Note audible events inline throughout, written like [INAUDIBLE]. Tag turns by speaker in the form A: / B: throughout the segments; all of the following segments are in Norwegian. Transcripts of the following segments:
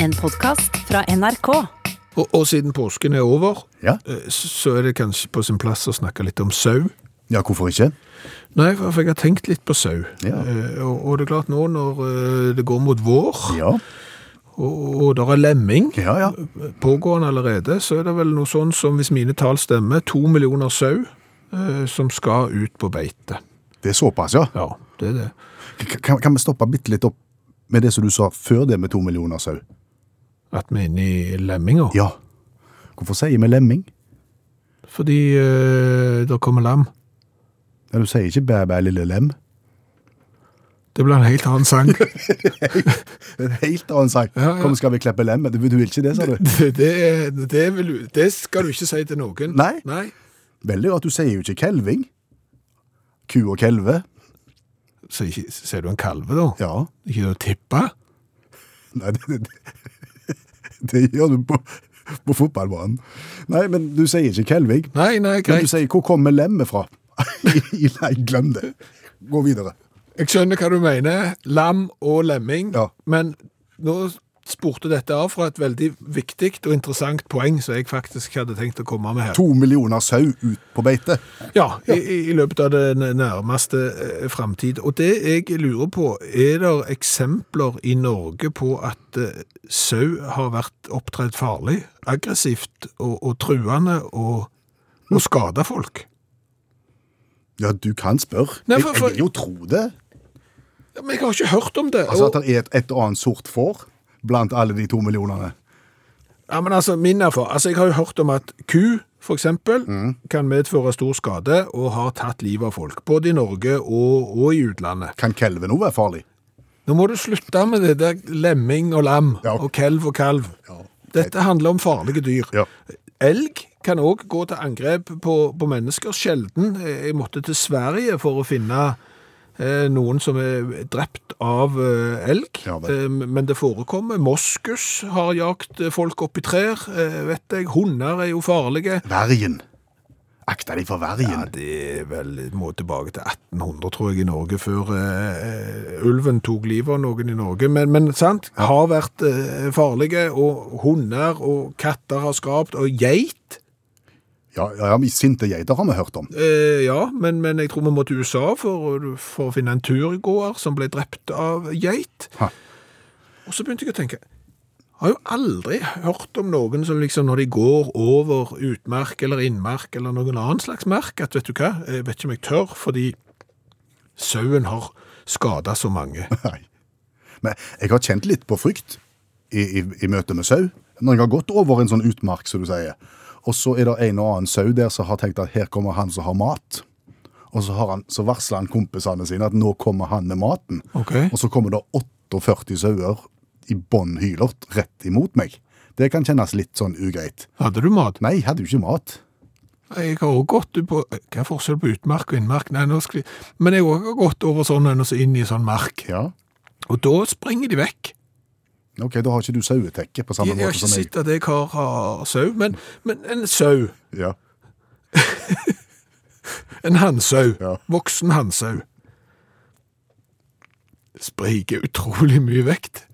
A: En podkast fra NRK.
B: Og, og siden påsken er over,
C: Ja.
B: eh, s- så er det kanskje på sin plass å snakke litt om sau.
C: Ja, hvorfor ikke?
B: Nei, for for jeg har tenkt litt på sau.
C: Ja.
B: Eh, Og, og det er klart nå når eh, det går mot vår,
C: Ja,
B: og, og der er lemming
C: ja, ja.
B: pågående allerede, så er det vel noe sånn som, hvis mine tall stemmer, to millioner sau eh, som skal ut på beite.
C: Det er såpass, ja.
B: Ja, det er det.
C: K- Kan, kan vi stoppe bitte litt opp med det som du sa før det med to millioner sau?
B: At vi er inne i lemminga.
C: Ja. Hvorfor sier vi lemming?
B: Fordi eh, der kommer lam.
C: Ja, du sier ikke bæ, bæ, lille lem.
B: Det blir en helt annen
C: [LAUGHS]
B: sang.
C: Det er en helt annen sak.
B: Ja, ja.
C: Kom, skal vi kleppe lem? Du, du vil ikke det, sa du?
B: det, det, det, vil, du- det skal du ikke si til noen.
C: Nei.
B: Nei.
C: Veldig rart, du sier jo ikke kelving. Ku og kelve.
B: Så ikke- sier du en kalve, da?
C: Ja.
B: Ikke det å tippe?
C: Nei, det, det, det, det gjør du på, på fotballbanen. Nei, men du sier ikke kelving.
B: Nei, nei,
C: Men
B: greit.
C: du sier hvor kommer lemmet fra? [LAUGHS] Nei, glem det. Gå videre.
B: Jeg skjønner hva du mener. Lam og lemming.
C: Ja.
B: Men nå sporte dette av fra et veldig viktig og interessant poeng som jeg faktisk hadde tenkt å komme med her.
C: To millioner sau ut på beite.
B: Ja, i, i- i løpet av den nærmeste eh, fremtid. Og det jeg lurer på, er det eksempler i Norge på at eh, sau har vært opptredd farlig, aggressivt og, og truende og, og skada folk?
C: Ja, du kan spørre.
B: Nei,
C: Jeg,
B: for-
C: jeg
B: for-
C: vil jo tro det.
B: Ja, Men jeg har ikke hørt om det.
C: Altså
B: og,
C: at det er et, et og annet sort får blant alle de to millionene.
B: ja, men altså, min erfaring, altså, jeg har jo hørt om at ku, for eksempel, kan medføre stor skade og har tatt livet av folk, både i Norge og, og i utlandet.
C: Kan kelven òg være farlig?
B: Nå må du slutte med det der lemming og lam
C: Ja.
B: og kelv og kalv. Dette handler om farlige dyr.
C: Ja.
B: Elg kan òg gå til angrep på, på mennesker. Sjelden. eh, Jeg måtte til Sverige for å finne eh, noen som er drept av eh, elg.
C: Ja vel.
B: eh, men det forekommer. Moskus har jagt eh, folk opp i trær, eh, vet jeg. Hunder er jo farlige.
C: Vergen. Akta deg for
B: Ja,
C: vergen.
B: det er vel må tilbake til 1800, tror jeg, i Norge, før eh, ulven tok livet av noen i Norge. Men, men sant, har vært eh, farlige, og hunder og katter har skapt, og geit.
C: Ja, ja, ja men Sinte geiter har vi hørt om.
B: Eh, ja, men, men jeg tror vi må til USA for, for å finne en turgåer som ble drept av geit.
C: Ha.
B: Og så begynte jeg å tenke, har jo aldri hørt om noen som liksom når de går over utmerk eller innmerk eller noen annen slags merk, at vet du hva, jeg vet ikke om jeg tør, fordi sauen har skadet så mange.
C: [LAUGHS] Nei. Men jeg har kjent litt på frykt i, i, i møte med sau. Når jeg har gått over en sånn utmark, som du sier, og så er det en og annen sau der som har tenkt at her kommer han som har mat. Og så, har han, så varsler han kompisene sine at nå kommer han med maten.
B: Ok.
C: Og så kommer det 48 sauer i bånn hylert rett imot meg. Det kan kjennes litt sånn ugreit.
B: Hadde du mat?
C: Nei, jeg hadde jo ikke mat.
B: Jeg har også gått på, hva er forskjell på utmerk og innmerk? Nei, nå skal jeg, men jeg har også gått over sånn og så inn i sånn merk,
C: Ja.
B: og da springer de vekk.
C: Ok, da har ikke du sauetekke på
B: Jeg
C: samme
B: har
C: måte
B: ikke
C: som jeg.
B: sett at jeg har, har sau, men, men en sau,
C: Ja.
B: en handsau,
C: Ja.
B: voksen handsau, spriker utrolig mye vekt.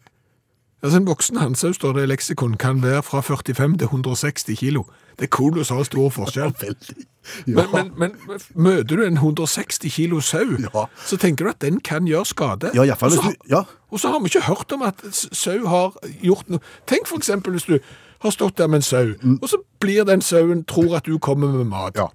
B: Altså En voksen handsau, står det i leksikon, kan være fra 45 til 160 kilo. Det er kolossalt stor forskjell.
C: Veldig.
B: Men, men, men møter du en 160 kilo sau,
C: Ja.
B: så tenker du at den kan gjøre skade.
C: Ja, i hvert fall
B: Og så
C: hvis du- ja.
B: Og så har vi ikke hørt om at s- sau har gjort noe. Tenk for eksempel hvis du har stått der med en sau, og så blir den sauen, tror at du kommer med mat.
C: Mm. Ja.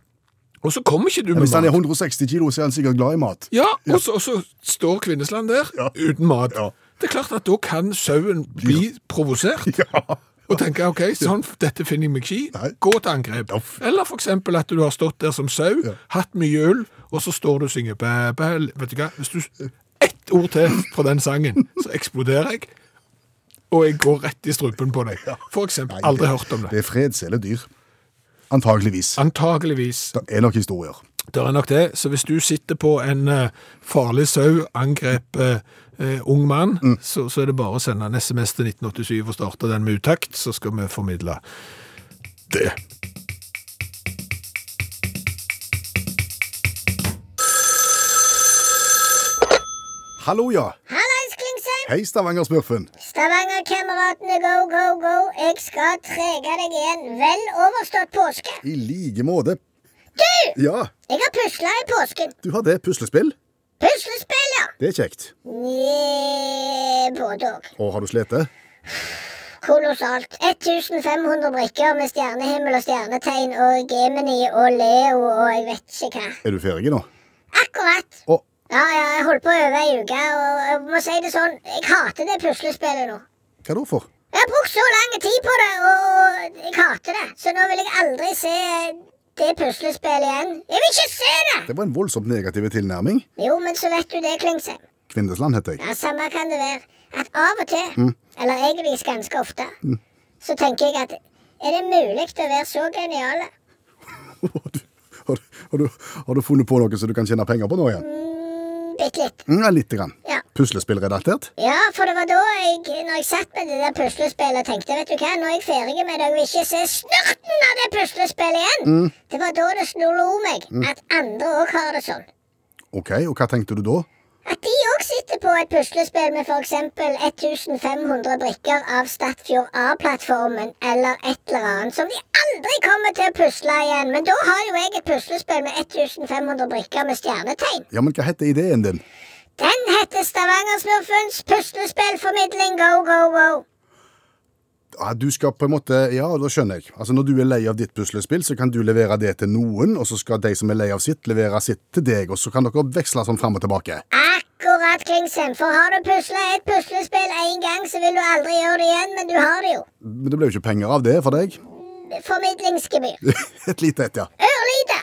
B: Og så kommer ikke du med
C: Hvis han er
B: mat.
C: 160 kilo, så er han sikkert glad i
B: [LAUGHS]
C: mat.
B: Ja, og så, og så står Kvinnesland der uten mat.
C: Ja.
B: Det er klart at da kan sauen bli provosert.
C: Ja.
B: Og tenke ok, sånn, dette finner jeg meg ikke i.
C: Nei.
B: Gå til angrep. Eller for eksempel at du har stått der som sau, hatt mye ull, og så står du og synger bæ, bæ, l- Vet du hva, hvis du s- Ett ord til fra den sangen, så eksploderer jeg. Og jeg går rett i strupen på deg. For eksempel. Aldri hørt om det.
C: Det er fredselige dyr. Antageligvis.
B: Antageligvis.
C: Det er nok historier.
B: Det er nok det. Så hvis du sitter på en eh, farlig sau, angrep eh, eh, ung mann, så, så er det bare å sende en SMS til 1987 og starte den med utakt, så skal vi formidle det.
C: Hallo, ja.
D: Hallais, Klingsheim!
C: Hei, Stavanger-smurfen.
D: Stavanger-kameratene, go, go, go. Jeg skal trege deg igjen. Vel overstått påske.
C: I like måte.
D: Du!
C: Ja,
D: Jeg har pusla i påsken.
C: du har det. Puslespill.
D: Puslespill, ja.
C: Det er kjekt.
D: Nje, Både òg.
C: Og har du slitt?
D: Kolossalt. 1500 brikker med stjernehimmel og stjernetegn og Gemini og Leo og jeg vet ikke hva.
C: Er du ferdig nå?
D: Akkurat.
C: Å,
D: Ja, ja, jeg holdt på å øve ei uke, og jeg må si det sånn, jeg hater det puslespillet nå.
C: hva da for?
D: Jeg har brukt så lang tid på det, og og jeg hater det. Så nå vil jeg aldri se det puslespillet igjen. Jeg vil ikke se det!
C: Det var en voldsomt negativ tilnærming.
D: Jo, men så vet du det, Klingsheim.
C: Kvindesland heter jeg. [LAUGHS]
D: Ja, Samme kan det være. At av og til, eller egentlig ganske ofte, så tenker jeg at er det mulig å være så geniale?
C: Har du, har, du- har, du, har du funnet på noe som du kan tjene penger på nå igjen?
D: Mm, Bitte litt.
C: Mm, ja, lite grann.
D: Ja.
C: Puslespillredaktert?
D: Ja, for det var da jeg, når jeg satt med det der puslespillet og tenkte vet du hva, nå er jeg ferdig med det, jeg vil ikke se snurten av det puslespillet igjen. Det var da det snurlo meg at andre òg har det sånn.
C: Ok, og hva tenkte du da?
D: At de òg sitter på et puslespill med f.eks. 1500 brikker av Statfjord A-plattformen eller et eller annet som de aldri kommer til å pusle igjen. Men da har jo jeg et puslespill med 1500 brikker med stjernetegn.
C: Ja, men hva heter ideen din?
D: Den heter Stavangersmurfens puslespillformidling go, go, go.
C: Ja, du skal på en måte, ja, da skjønner jeg. Altså, Når du er lei av ditt puslespill, så kan du levere det til noen, og så skal de som er lei av sitt, levere sitt til deg, og så kan dere veksle sånn fram og tilbake.
D: Akkurat, Klingsheim. For har du pusla et puslespill én gang, så vil du aldri gjøre det igjen, men du har det jo.
C: Men det ble jo ikke penger av det for deg. [LAUGHS]
D: Formidlingsgebyr.
C: Et lite et, ja.
D: Ørlite.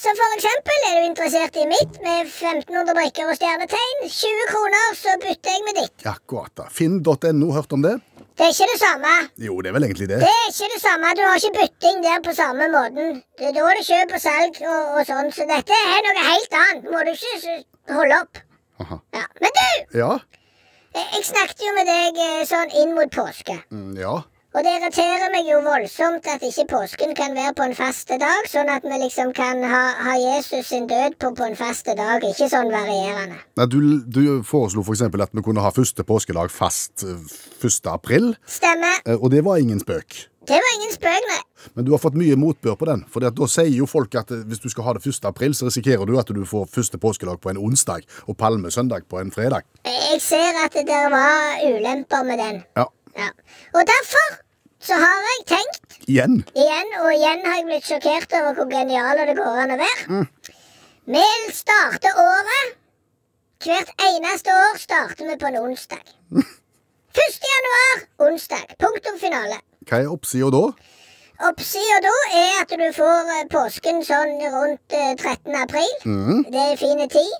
D: Så for eksempel er du interessert i mitt med 1500 brikker og stjernetegn. 20 kroner, så bytter jeg med ditt.
C: Akkurat. da. Finn.no, hørt om det?
D: Det er ikke det samme.
C: Jo, det er vel egentlig det.
D: Det er ikke det samme. Du har ikke bytting der på samme måten. Det er da er det kjøp og salg og, og sånn. Så dette er noe helt annet. Må du ikke s- holde opp.
C: Aha.
D: Ja. Men du,
C: Ja.
D: jeg jeg snakket jo med deg eh, sånn inn mot påske.
C: Mm, ja.
D: Og det irriterer meg jo voldsomt at ikke påsken kan være på en faste dag, sånn at vi liksom kan ha, ha Jesus sin død på, på en faste dag, ikke sånn varierende.
C: Nei, du, du foreslo for eksempel at vi kunne ha første påskedag fast eh, 1. april,
D: Stemmer.
C: eh, og det var ingen spøk.
D: Det var ingen spøk, nei.
C: Men du har fått mye motbør på den, for da sier jo folk at eh, hvis du skal ha det 1. april, så risikerer du at du får første påskedag på en onsdag, og palmesøndag på en fredag.
D: Jeg ser at det der var ulemper med den.
C: Ja,
D: Ja. Og derfor så har jeg tenkt,
C: igjen.
D: igjen og igjen har jeg blitt sjokkert over hvor geniale det går an å være. Vi starter året. Hvert eneste år starter vi på en onsdag. 1. januar, onsdag. Punktum finale.
C: Hva er oppsida da? [LAUGHS]
D: Oppsida da er at du får eh, påsken sånn rundt eh, 13. april. Det er fine tid.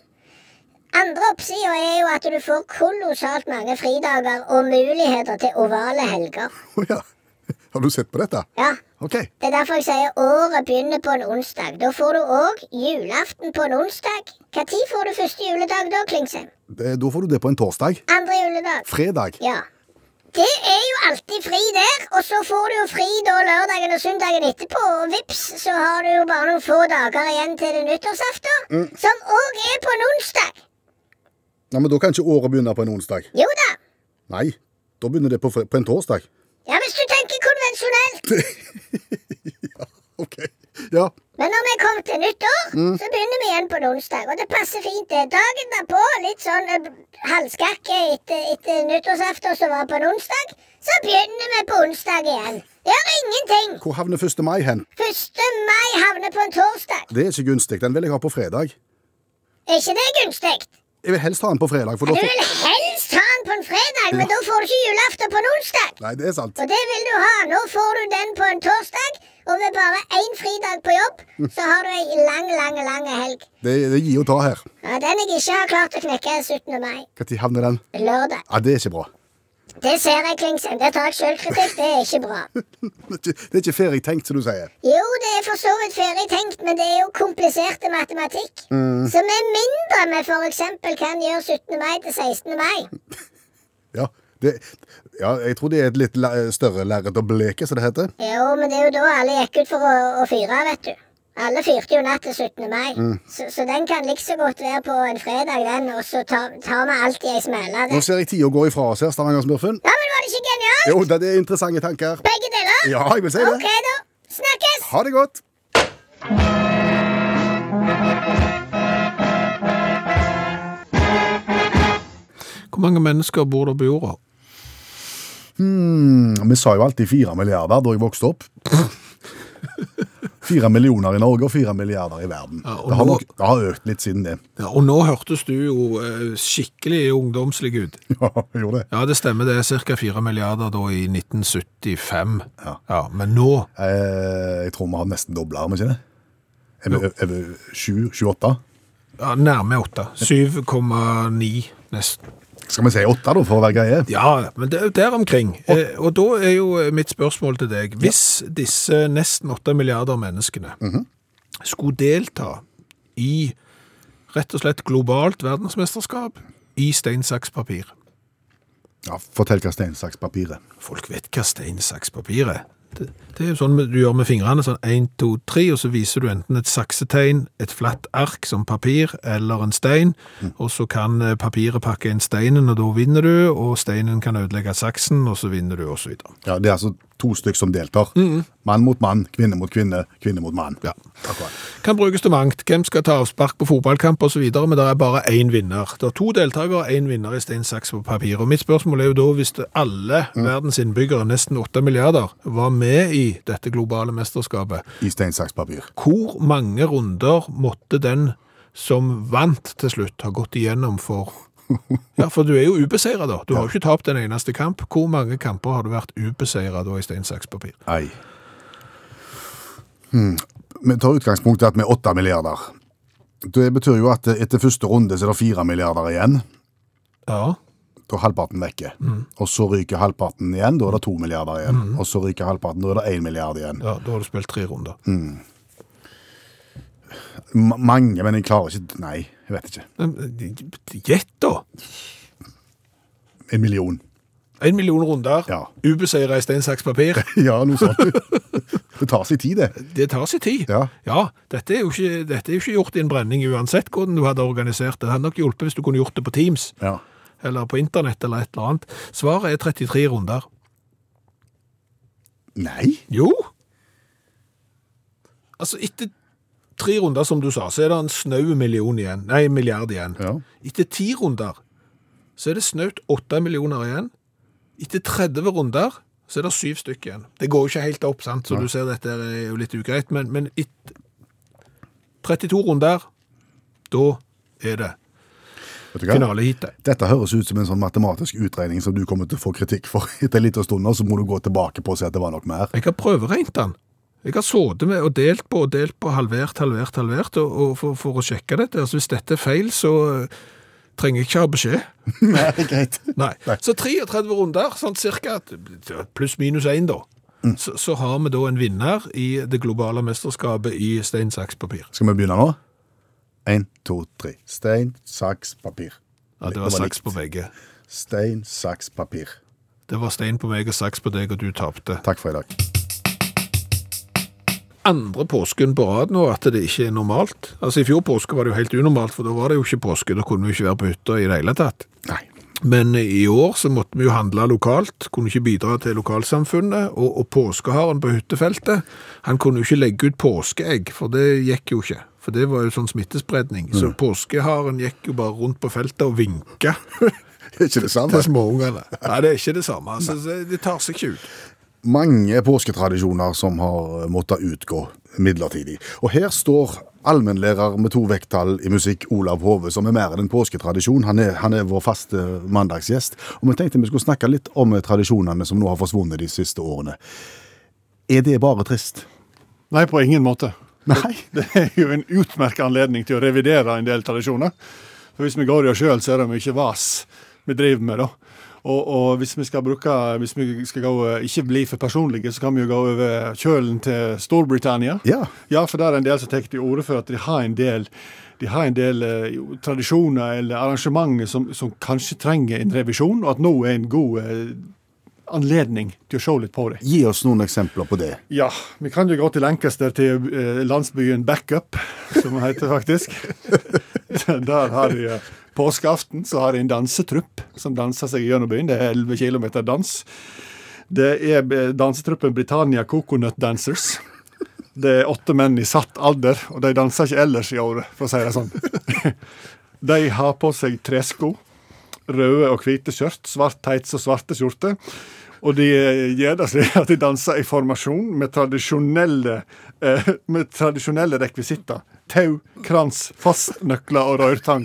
D: Andre oppsida er jo at du får kolossalt mange fridager og muligheter til ovale helger.
C: Å ja, har du sett på dette?
D: Ja,
C: Ok,
D: Det er derfor jeg sier året begynner på en onsdag. Da får du òg julaften på en onsdag. Når får du første juledag da, Klingsheim?
C: det, da får du det på en torsdag.
D: Andre juledag?
C: Fredag.
D: Ja. Det er jo alltid fri der, og så får du jo fri da lørdagen og søndagen etterpå, og vips, så har du jo bare noen få dager igjen til det er nyttårsaften, som òg er på en onsdag.
C: Nei, men da kan ikke året begynne på en onsdag.
D: Jo da.
C: Nei, da begynner det på, fre- på en torsdag.
D: Ja, hvis du tenker konvensjonelt.
C: Ok, ja.
D: Men når vi kommer til nyttår, så begynner vi igjen på en onsdag, og det passer fint, det. Dagen derpå, litt sånn eh, halvskakke etter, etter nyttårsaften som var på en onsdag, så begynner vi på onsdag igjen. Gjør ingenting.
C: Hvor havner 1. mai hen?
D: 1. mai havner på en torsdag.
C: Det er ikke gunstig, den vil jeg ha på fredag.
D: Er ikke det gunstig?
C: Jeg vil helst ha den på fredag, for
D: Du
C: da får...
D: vil helst ha den på en fredag, men da får du ikke julaften på en onsdag.
C: Nei, det er sant.
D: Og det vil du ha. Nå får du den på en torsdag, og med bare én fridag på jobb, så har du ei lang, lang, lang helg.
C: Det, det gir og ta her.
D: Ja, den jeg ikke har klart å knekke, er 17. mai.
C: Når havner den?
D: Lørdag.
C: Ja, det er ikke bra.
D: Det ser jeg, Klingsheim. Det tar jeg sjølkritikk. Det er ikke bra.
C: Det er ikke, det er ikke ferdig tenkt, som du sier.
D: Jo, det er for så vidt ferdig tenkt, men det er jo kompliserte matematikk.
C: Mm.
D: Så med mindre vi f.eks. kan gjøre 17. mai til 16. mai,
C: Ja, det, ja, jeg tror det er et litt la, større lerret å bleke, som det heter.
D: Jo, men det er jo da alle gikk ut for å, å fyre, vet du. Alle fyrte jo natt til 17. mai,
C: Mm.
D: så, så den kan like så godt være på en fredag, den, og så tar, tar vi alltid ei smelle.
C: Nå
D: Det-
C: ser jeg tida gå ifra oss her, Stavanger-smurfen.
D: Ja, men var det ikke genialt?
C: Jo, det er interessante tanker.
D: Begge deler?
C: Ja, jeg vil si
D: OK,
C: det.
D: da. Snakkes!
C: Ha det godt.
B: Hvor mange mennesker bor der på jorda?
C: Mm, Vi sa jo alltid fire milliarder da jeg vokste opp. Fire millioner i Norge og fire milliarder i verden.
B: Ja, og
C: det, har
B: nå-
C: nok, det har økt litt siden det. [LAUGHS]
B: Ja, og nå hørtes du jo eh, skikkelig ungdomslig ut.
C: Ja, gjorde det.
B: Ja, det stemmer, det er ca. 4 milliarder da i 1975.
C: Ja.
B: men nå
C: Eh, Jeg tror vi har nesten dobla, har vi ikke det? Er vi- Er vi sju? Sju-åtte?
B: ja, nærme 8. 7,9 nesten.
C: Skal vi si åtte, da, for å være greie?
B: Ja, men det er jo der omkring. Eh, og da er jo mitt spørsmål til deg. Hvis disse nesten 8 milliarder menneskene skulle delta i rett og slett globalt verdensmesterskap i stein, saks, papir
C: Ja, fortell hva stein, saks, papir er.
B: Folk vet hva stein, saks, papir er. Det, det er jo sånn du gjør med fingrene, sånn 1, 2, 3, og så viser du enten et saksetegn, et flatt ark som papir, eller en stein, og så kan eh, papiret pakke inn steinen, og da vinner du, og steinen kan ødelegge saksen, og så vinner du, og så videre.
C: Ja, det er altså to stykk som deltar. Mann mot mann, kvinne mot kvinne, kvinne mot mann.
B: Mm-hmm. Ja.
C: Akkurat.
B: Kan brukes til mangt. Hvem skal ta avspark på fotballkamp osv., men det er bare én vinner. Det er to deltakere og én vinner i stein, saks på papir. Og Mitt spørsmål er jo da, hvis det alle verdens innbyggere, nesten åtte milliarder, var med i dette globale mesterskapet,
C: I stein, saks, papir.
B: hvor mange runder måtte den som vant til slutt, ha gått igjennom for Ja, for du er jo ubeseira, da. Du har jo ikke tapt en eneste kamp. Hvor mange kamper har du vært ubeseira da i stein, saks, papir?
C: Ei. Hmm. Vi tar utgangspunkt i at vi er åtte milliarder. Det betyr jo at etter første runde så er det fire milliarder igjen.
B: Ja.
C: Da er halvparten vekke.
B: Mm.
C: Og så ryker halvparten igjen, da er det to milliarder igjen. Og så ryker halvparten, da er det én milliard igjen.
B: ja. Da har du spilt tre runder.
C: Ma- mange, men jeg klarer ikke Nei, jeg vet ikke.
B: Men, Gjett, da!
C: En million. [LAUGHS]
B: En million runder,
C: Ja.
B: ubeseira i stein, saks, papir.
C: Ja, noe sånt. [LAUGHS] det tar sin tid, det.
B: Det tar sin tid.
C: Ja.
B: dette, er jo ikke, dette er jo ikke gjort i en brenning uansett hvordan du hadde organisert det. Det hadde nok hjulpet hvis du kunne gjort det på Teams
C: Ja.
B: eller på internett eller et eller annet. Svaret er 33 runder.
C: Nei.
B: Jo! Altså, etter tre runder, som du sa, så er det en snau million igjen. Nei, en milliard igjen.
C: Ja.
B: Etter ti runder så er det snaut åtte millioner igjen. Etter 30 runder så er det syv stykk igjen. Det går jo ikke helt opp, sant? så du ser dette er jo litt ugreit, men, men etter 32 runder, da er det
C: Vet du hva?
B: finaleheatet.
C: Dette høres ut som en sånn matematisk utregning som du kommer til å få kritikk for [LAUGHS] etter en liten stund, og så må du gå tilbake på og si at det var nok mer.
B: Jeg har prøveregnet den. Jeg har sittet med og delt på og delt på, halvert, halvert, halvert, og, og for, for å sjekke dette. Altså, hvis dette er feil, så eh, trenger jeg ikke ha beskjed.
C: Nei, greit.
B: [LAUGHS] Nei. Så 33 runder, sånn cirka, pluss minus én, da. Så, så har vi da en vinner i det globale mesterskapet i stein, saks, papir.
C: Skal vi begynne nå? Én, to, tre. Stein, saks, papir.
B: Ja, det var saks
C: likt.
B: på begge.
C: Stein, saks, papir.
B: Det var stein på meg og saks på deg, og du tapte.
C: Takk for i dag.
B: Andre påsken på rad nå at det ikke er normalt. Altså I fjor påske var det jo helt unormalt, for da var det jo ikke påske. Da kunne vi ikke være på hytta i det hele tatt.
C: Nei. [LAUGHS]
B: Men i år så måtte vi jo handle lokalt, kunne ikke bidra til lokalsamfunnet, og, og påskeharen på hyttefeltet, han kunne jo ikke legge ut påskeegg, for det gikk jo ikke. For det var jo sånn smittespredning. Så påskeharen gikk jo bare rundt på feltet og vinka
C: Er ikke det
B: [LAUGHS]
C: samme?
B: til småungene. Nei, det er ikke det samme. Altså, så det tar seg ikke ut.
C: Mange påsketradisjoner som har måttet utgå midlertidig. Og her står allmennlærer med to vekttall i musikk, Olav Hove, som er mer enn en påsketradisjon. Han er, han er vår faste mandagsgjest. Og vi tenkte vi skulle snakke litt om tradisjonene som nå har forsvunnet de siste årene. Er det bare trist?
E: Nei, på ingen måte.
C: Nei.
E: Det er jo en utmerket anledning til å revidere en del tradisjoner. For hvis vi går i oss sjøl, så er det mye vas vi driver med, da. Og, og hvis vi skal bruke, hvis vi skal gå, ikke bli for personlige, så kan vi jo gå over kjølen til Storbritannia.
C: Ja.
E: Ja, for der er en del som tar til orde for at de har en del, de har en del eh, jo, tradisjoner eller arrangementer som, som kanskje trenger en revisjon, og at nå er en god eh, anledning til å se litt på dem.
C: Gi oss noen eksempler på det.
E: Ja, vi kan jo gå til Lancaster, til eh, landsbyen Backup, som den heter faktisk. [LAUGHS] Der har de eh, påskeaften så har de en dansetrupp som danser seg gjennom byen. Det er 11 km dans. Det er eh, dansetruppen Britannia Coconut Dancers. Det er åtte menn i satt alder, og de danser ikke ellers i året, for å si det sånn. [LAUGHS] De har på seg tresko røde og hvite skjørt, svart tights og svarte skjorter. Og de eh, gjør det slik at de danser i formasjon med tradisjonelle, eh, med tradisjonelle rekvisitter. Tau, krans, fastnøkler og rørtang.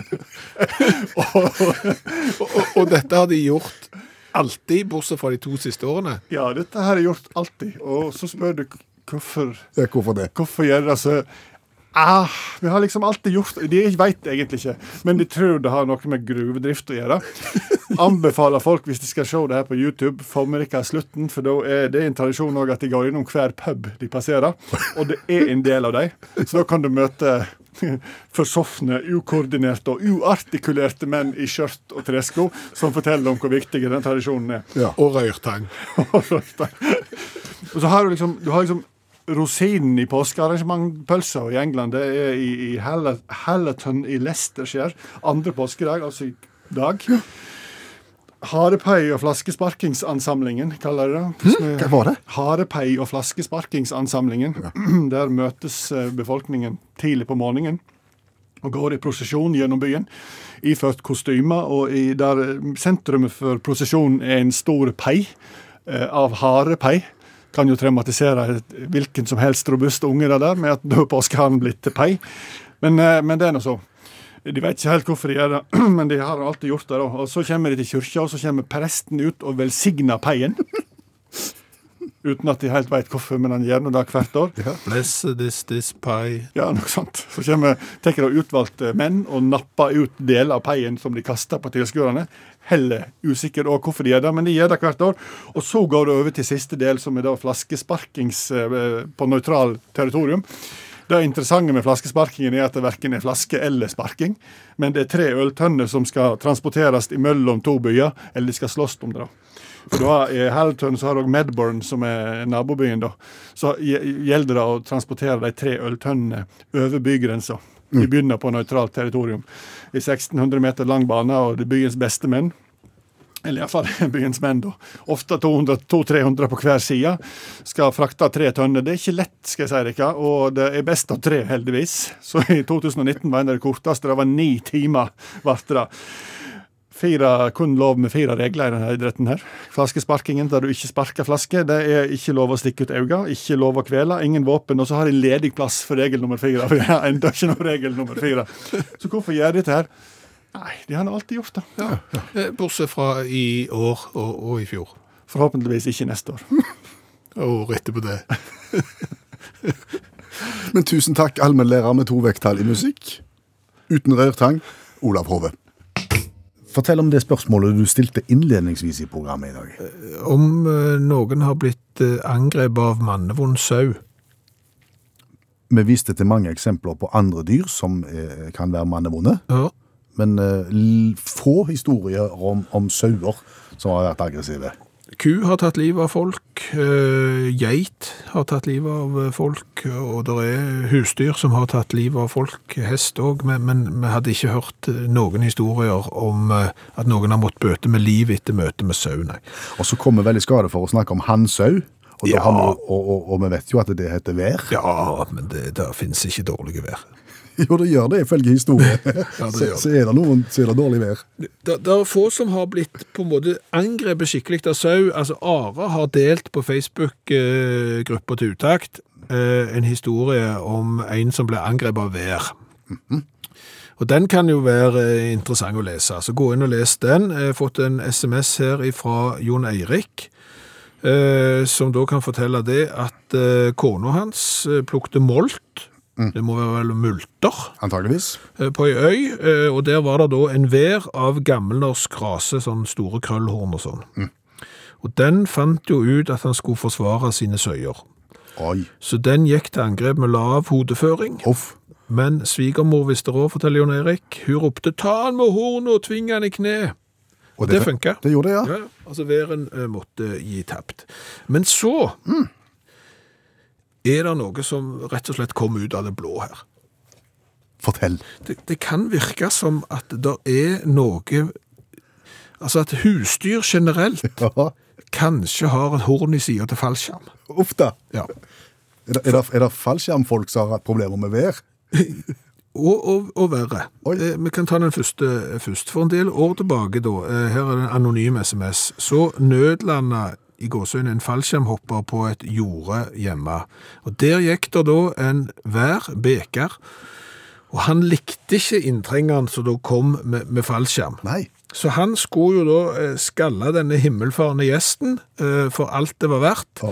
B: Og, og dette har de gjort alltid, bortsett fra de to siste årene.
E: Ja, dette har jeg gjort alltid. Og så spør du k- hvorfor,
C: Ja, Hvorfor det?
E: hvorfor gjør de det så Ah, vi har liksom alltid gjort De veit egentlig ikke, men de tror det har noe med gruvedrift å gjøre. Anbefaler folk, hvis de skal se det her på YouTube, få med dere slutten, for da er det en tradisjon også at de går innom hver pub de passerer, og det er en del av dem. Så da kan du møte [LAUGHS] forsofne, ukoordinerte og uartikulerte menn i skjørt og tresko som forteller om hvor viktig den tradisjonen er.
C: Ja.
B: Og røyrtang.
E: [LAUGHS] Og så har du liksom, du har liksom rosinen i påskearrangementpølsa i England. Det er i, i Hall- Hallerton i Leicestershire. Andre påskedag, altså i dag. Harepei- og flaskesparkingsansamlingen, kaller de det. Som
C: Hm?
E: er-
C: Hva var det?
E: Harepei- og flaskesparkingsansamlingen. [CLEARS THROAT] Der møtes eh, befolkningen tidlig på morgenen og går i prosesjon gjennom byen, iført kostymer, og i der eh, sentrumet for prosesjonen er en stor pei eh, av harepei. Kan jo traumatisere et- hvilken som helst robust unge det der, med at da er påskeharen blitt til pei. Men, eh, men det er nå så. De vet ikke helt hvorfor de gjør det, [CLEARS THROAT] men de har alltid gjort det. da. Og Så kommer de til kyrkja, og så kommer presten ut og velsigner peien. Uten at de helt vet hvorfor, men han gjør nå det hvert år.
B: Bless this, this pie.
E: Ja, noe sånt. Så kommer, tar de utvalgte menn og napper ut deler av peien som de kaster på tilskuerne. Heller usikker også hvorfor de gjør det, men de gjør det hvert år. Og så går det over til siste del, som er da flaskesparkings eh, på nøytral territorium. Det interessante med flaskesparkingen er at det verken er flaske eller sparking, men det er tre øltønner som skal transporteres imellom to byer, eller de skal slåss om det. da. For du har, I Hallertønn så har du også Medburn, som er nabobyen. da. Så gj- gjelder det å transportere de tre øltønnene over bygrensa. De begynner på nøytralt territorium. I 1600 meter lang bane, og det er byens beste menn. Eller iallfall [LAUGHS] byens menn, da. Ofte 200-300 på hver side. Skal frakte tre tønner. Det er ikke lett, skal jeg si dere, og det er best av tre, heldigvis. Så i 2019 var en av de korteste. Det var ni timer, ble det fire, kun lov med fire regler i denne idretten. her. Flaskesparkingen, der du ikke sparker flaske. Det er ikke lov å stikke ut øynene, ikke lov å kvele, ingen våpen. Og så har de ledig plass for regel nummer fire. [LAUGHS] for det er Enda ikke noe regel nummer fire. Så hvorfor gjør de dette her? Nei, de har nå alltid gjort det.
B: Eh, Bortsett fra i år og, og i fjor.
E: Forhåpentligvis ikke neste år.
B: Og året etterpå det.
C: Men tusen takk, allmennlærer med to vekttall i musikk. Uten rørtang, Olav Hove. Fortell om det spørsmålet du stilte innledningsvis i programmet i dag.
B: Om eh, noen har blitt eh, angrepet av mannevond sau.
C: Vi viste til mange eksempler på andre dyr som eh, kan være mannevonde,
B: Ja.
C: men eh, l- få historier om, om sauer som har vært aggressive.
B: Ku har tatt livet av folk, eh, geit har tatt livet av eh, folk, og det er husdyr som har tatt livet av folk, hest òg, men, men vi hadde ikke hørt eh, noen historier om eh, at noen har måttet bøte med liv etter møte med sau, nei.
C: Og så kommer vel i skade for å snakke om hannsau, og, da
B: Ja.
C: har vi jo- og, og, og vi vet jo at det heter vær.
B: Ja, men det, det finnes ikke dårlige vær.
C: [LAUGHS] Jo, det gjør det ifølge historien.
B: det
C: [LAUGHS] så,
B: gjør
C: så er det noen så er det dårlig vær.
B: Det, det er få som har blitt på en måte angrepet skikkelig av sau. Altså, Are har delt på Facebook-gruppa til utakt eh, en historie om en som ble angrepet av vær. Og den kan jo være eh, interessant å lese. Så gå inn og les den. Jeg har fått en SMS her fra Jon Eirik. eh, Som da kan fortelle det at eh, kona hans eh, plukte molt, det må være vel multer,
C: Antageligvis.
B: eh, på ei øy, eh, og der var det da en vær av gammelnorsk rase, sånn store krøllhorn og sånn. Og den fant jo ut at han skulle forsvare sine søyer.
C: Oi.
B: Så den gikk til angrep med lav hodeføring.
C: Hoff.
B: Men svigermor visste råd, forteller Jon Erik. Hun ropte 'ta han med hornet og tving han i kne'.
C: Og
B: Det funker.
C: Det gjorde det, ja.
B: Ja, ja. altså væren eh, måtte gi tapt. Men så er det noe som rett og slett kom ut av det blå her.
C: Fortell.
B: Det, det kan virke som at det er noe Altså at husdyr generelt
C: Ja.
B: kanskje har et horn i sida til fallskjerm.
C: Uff da.
B: Ja.
C: Er det, er det, er det fallskjermfolk som har hatt problemer med vær?
B: Og, og, og verre.
C: Oi.
B: Eh, vi kan ta den første eh, først. For en del år tilbake, da, eh, her er det en anonym SMS, så nødlanda i gåsøyne en fallskjermhopper på et jorde hjemme. Og Der gikk det da en vær beker, og han likte ikke inntrengeren som da kom med, med fallskjerm.
C: Nei.
B: Så han skulle jo da eh, skalle denne himmelfarende gjesten eh, for alt det var verdt,
C: Ja.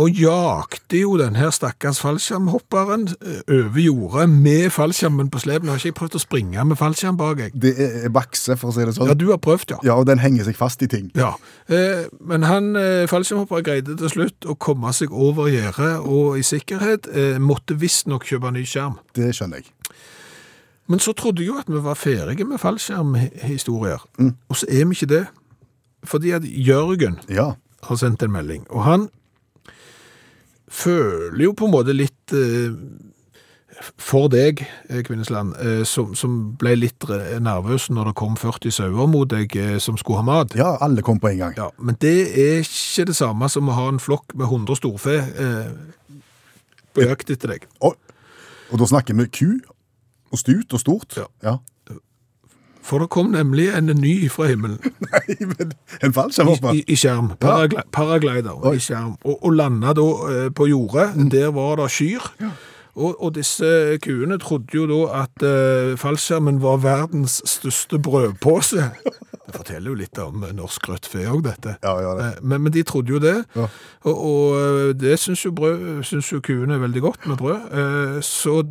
B: og jakte jo den her stakkars fallskjermhopperen eh, over jordet med fallskjermen på slep. Nå har ikke jeg prøvd å springe med fallskjerm bak jeg.
C: Det er er bakse, for å si det sånn.
B: Ja, du har prøvd, ja.
C: Ja, og den henger seg fast i ting.
B: Ja, eh, men han eh, fallskjermhopperen greide til slutt å komme seg over gjerdet og i sikkerhet. Eh, måtte visstnok kjøpe ny skjerm.
C: Det skjønner jeg.
B: Men så trodde jeg jo at vi var ferdige med fallskjermhistorier, og så er vi ikke det. Fordi at Jørgen
C: Ja.
B: har sendt en melding, og han føler jo på en måte litt eh, for deg, eh, Kvinnesland, eh, som, som ble litt re- nervøs når det kom 40 sauer mot deg eh, som skulle ha mat.
C: ja, alle kom på en gang.
B: Ja, men det er ikke det samme som å ha en flokk med 100 storfe eh, på jakt etter deg.
C: Og, og da snakker vi ku og stut og stort.
B: Ja.
C: ja. [LAUGHS]
B: For det kom nemlig en ny fra himmelen.
C: Nei, men en
B: I,
C: fallskjermhopper?
B: i, I skjerm. Paragli paraglider i skjerm. Og, og landa da eh, på jordet. Der var det kyr. Og, og disse eh, kuene trodde jo da at eh, fallskjermen var verdens største brødpose. Det forteller jo litt om eh, norsk rødt fe òg, dette.
C: Ja, ja, det.
B: Eh, Men, men de trodde jo det,
C: Ja.
B: og, og eh, det syns jo, brød, syns jo kuene er veldig godt med brød. Eh, Så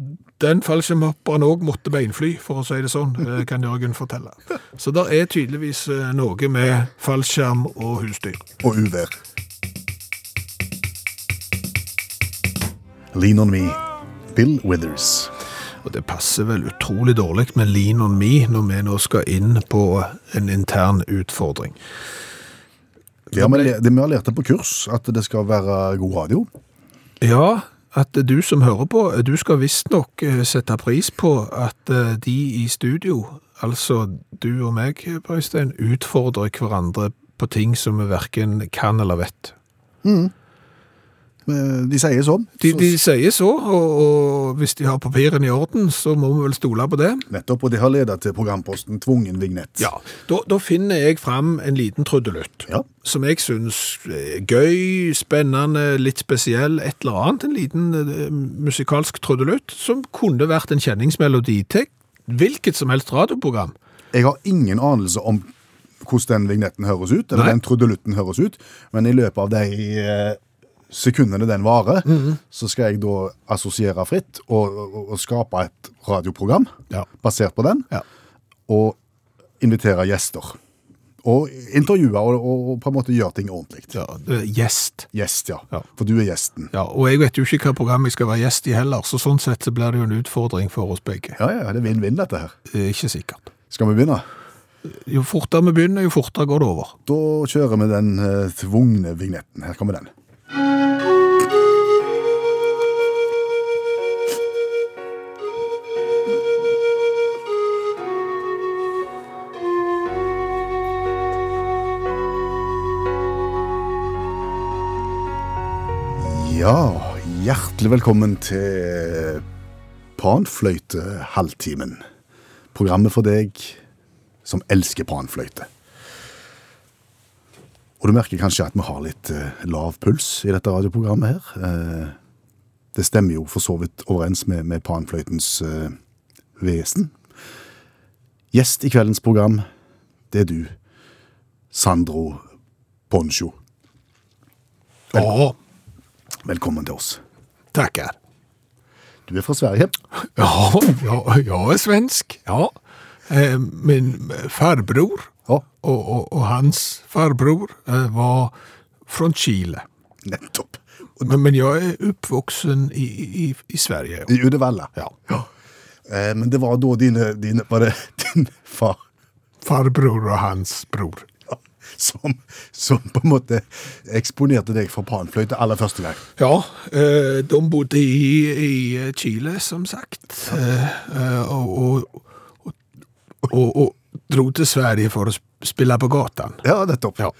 B: den fallskjermhopperen òg måtte beinfly, for å si det sånn, eh, kan Jørgen fortelle. Så der er tydeligvis eh, noe med fallskjerm og husdyr.
C: Og uvær. Lean on me. Bill Withers.
B: Og det passer vel utrolig dårlig med lean on me når vi nå skal inn på en intern utfordring.
C: Ja, men det, det vi har lært det på kurs, at det skal være god radio.
B: Ja, at du som hører på, du skal visstnok eh, sette pris på at eh, de i studio, altså du og meg, Brøystein, utfordrer hverandre på ting som vi verken kan eller vet.
C: Eh, De sier sånn.
B: De,
C: så-
B: de sier så, og, og hvis de har papirene i orden, så må vi vel stole på det.
C: Nettopp, og det har ledet til programposten Tvungen vignett.
B: Ja, da, da finner jeg fram en liten trudelutt,
C: Ja.
B: som jeg synes er gøy, spennende, litt spesiell, et eller annet. En liten eh, musikalsk trudelutt som kunne vært en kjenningsmelodi til hvilket som helst radioprogram.
C: Jeg har ingen anelse om hvordan den vignetten høres ut, eller
B: Nei.
C: den trudelutten høres ut, men i løpet av de eh, sekundene den varer,
B: Mhm.
C: så skal jeg da assosiere fritt og, og, og skape et radioprogram
B: Ja.
C: basert på den,
B: Ja.
C: og invitere gjester. Og intervjue og, og, og på en måte gjøre ting ordentlig.
B: Ja, eh, gjest.
C: Gjest, ja.
B: Ja.
C: For du er gjesten.
B: Ja, og jeg vet jo ikke hva program jeg skal være gjest i heller, så sånn sett så blir det jo en utfordring for oss begge.
C: Ja, ja, det er vinn-vinn dette her.
B: Eh, Ikke sikkert.
C: Skal vi begynne?
B: Jo fortere vi begynner, jo fortere går det over.
C: Da kjører vi den eh, tvungne vignetten. Her kommer den. Ja, hjertelig velkommen til Panfløyte-halvtimen. Programmet for deg som elsker panfløyte. Og du merker kanskje at vi har litt eh, lav puls i dette radioprogrammet her. Eh, det stemmer jo for så vidt overens med, med panfløytens eh, vesen. Gjest i kveldens program, det er du, Sandro Poncho.
B: Å,
C: Velkommen til oss.
B: takker.
C: Du er fra Sverige.
B: Ja, ja, jag är svensk. Ja. Eh, Min farbror
C: Ja.
B: och, och, och hans farbror eh, var från Chile.
C: Nettopp.
B: Men, men jag är uppvuxen i, i, i Sverige.
C: I Uddevalla.
B: Ja.
C: [LAUGHS] Eh, men det var da dine, dine Var det din far
B: farbror og hans bror.
C: Som, som på en måte eksponerte deg for panfløyte aller første gang.
B: Ja, eh, de bodde i, i Chile, som sagt. Eh, eh, og, og, og, og, og dro til Sverige for å sp- spille på gatan.
C: Ja, nettopp.
B: Ja.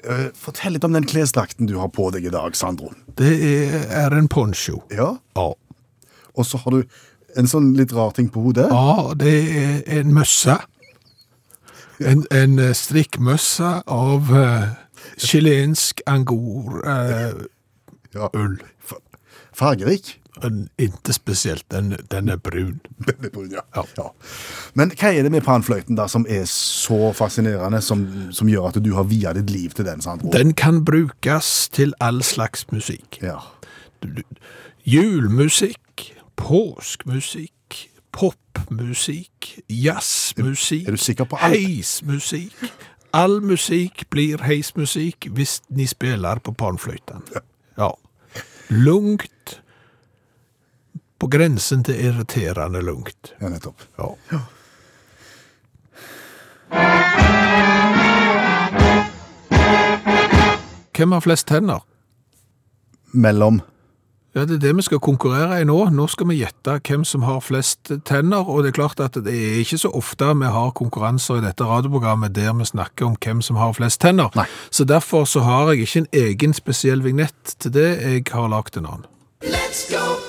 C: Eh, Fortell litt om den klesdrakten du har på deg i dag, Sandro.
B: Det er, er en poncho.
C: Ja,
B: Ja.
C: Og så har du en sånn litt rar ting på hodet.
B: ja, det er en møsse. En, en eh, strikkmøsse av eh, chilensk angor. Eh,
C: Ja. Ull. Fargerik. [LAUGHS]
B: en- ikke spesielt, den, den er brun.
C: Veldig brun, ja.
B: Ja.
C: Ja. Men hva er det med panfløyten da som er så fascinerende, som, som gjør at du har via ditt liv til den, Sandro?
B: Den kan brukes til all slags musikk.
C: Ja.
B: Julmusikk, påskmusikk, popmusikk, jazzmusikk
C: Er du sikker på alt?
B: Heismusikk. All musikk blir heismusikk hvis ni spiller på panfløyten. Ja. Lungt. På grensen til irriterende lungt.
C: ja, nettopp.
B: Ja. Hvem har flest tenner?
C: Mellom
B: Ja, Det er det vi skal konkurrere i nå. Nå skal vi gjette hvem som har flest tenner. Og det er klart at det er ikke så ofte vi har konkurranser i dette radioprogrammet der vi snakker om hvem som har flest tenner.
C: Nei.
B: Så derfor så har jeg ikke en egen spesiell vignett til det. Jeg har lagd en annen.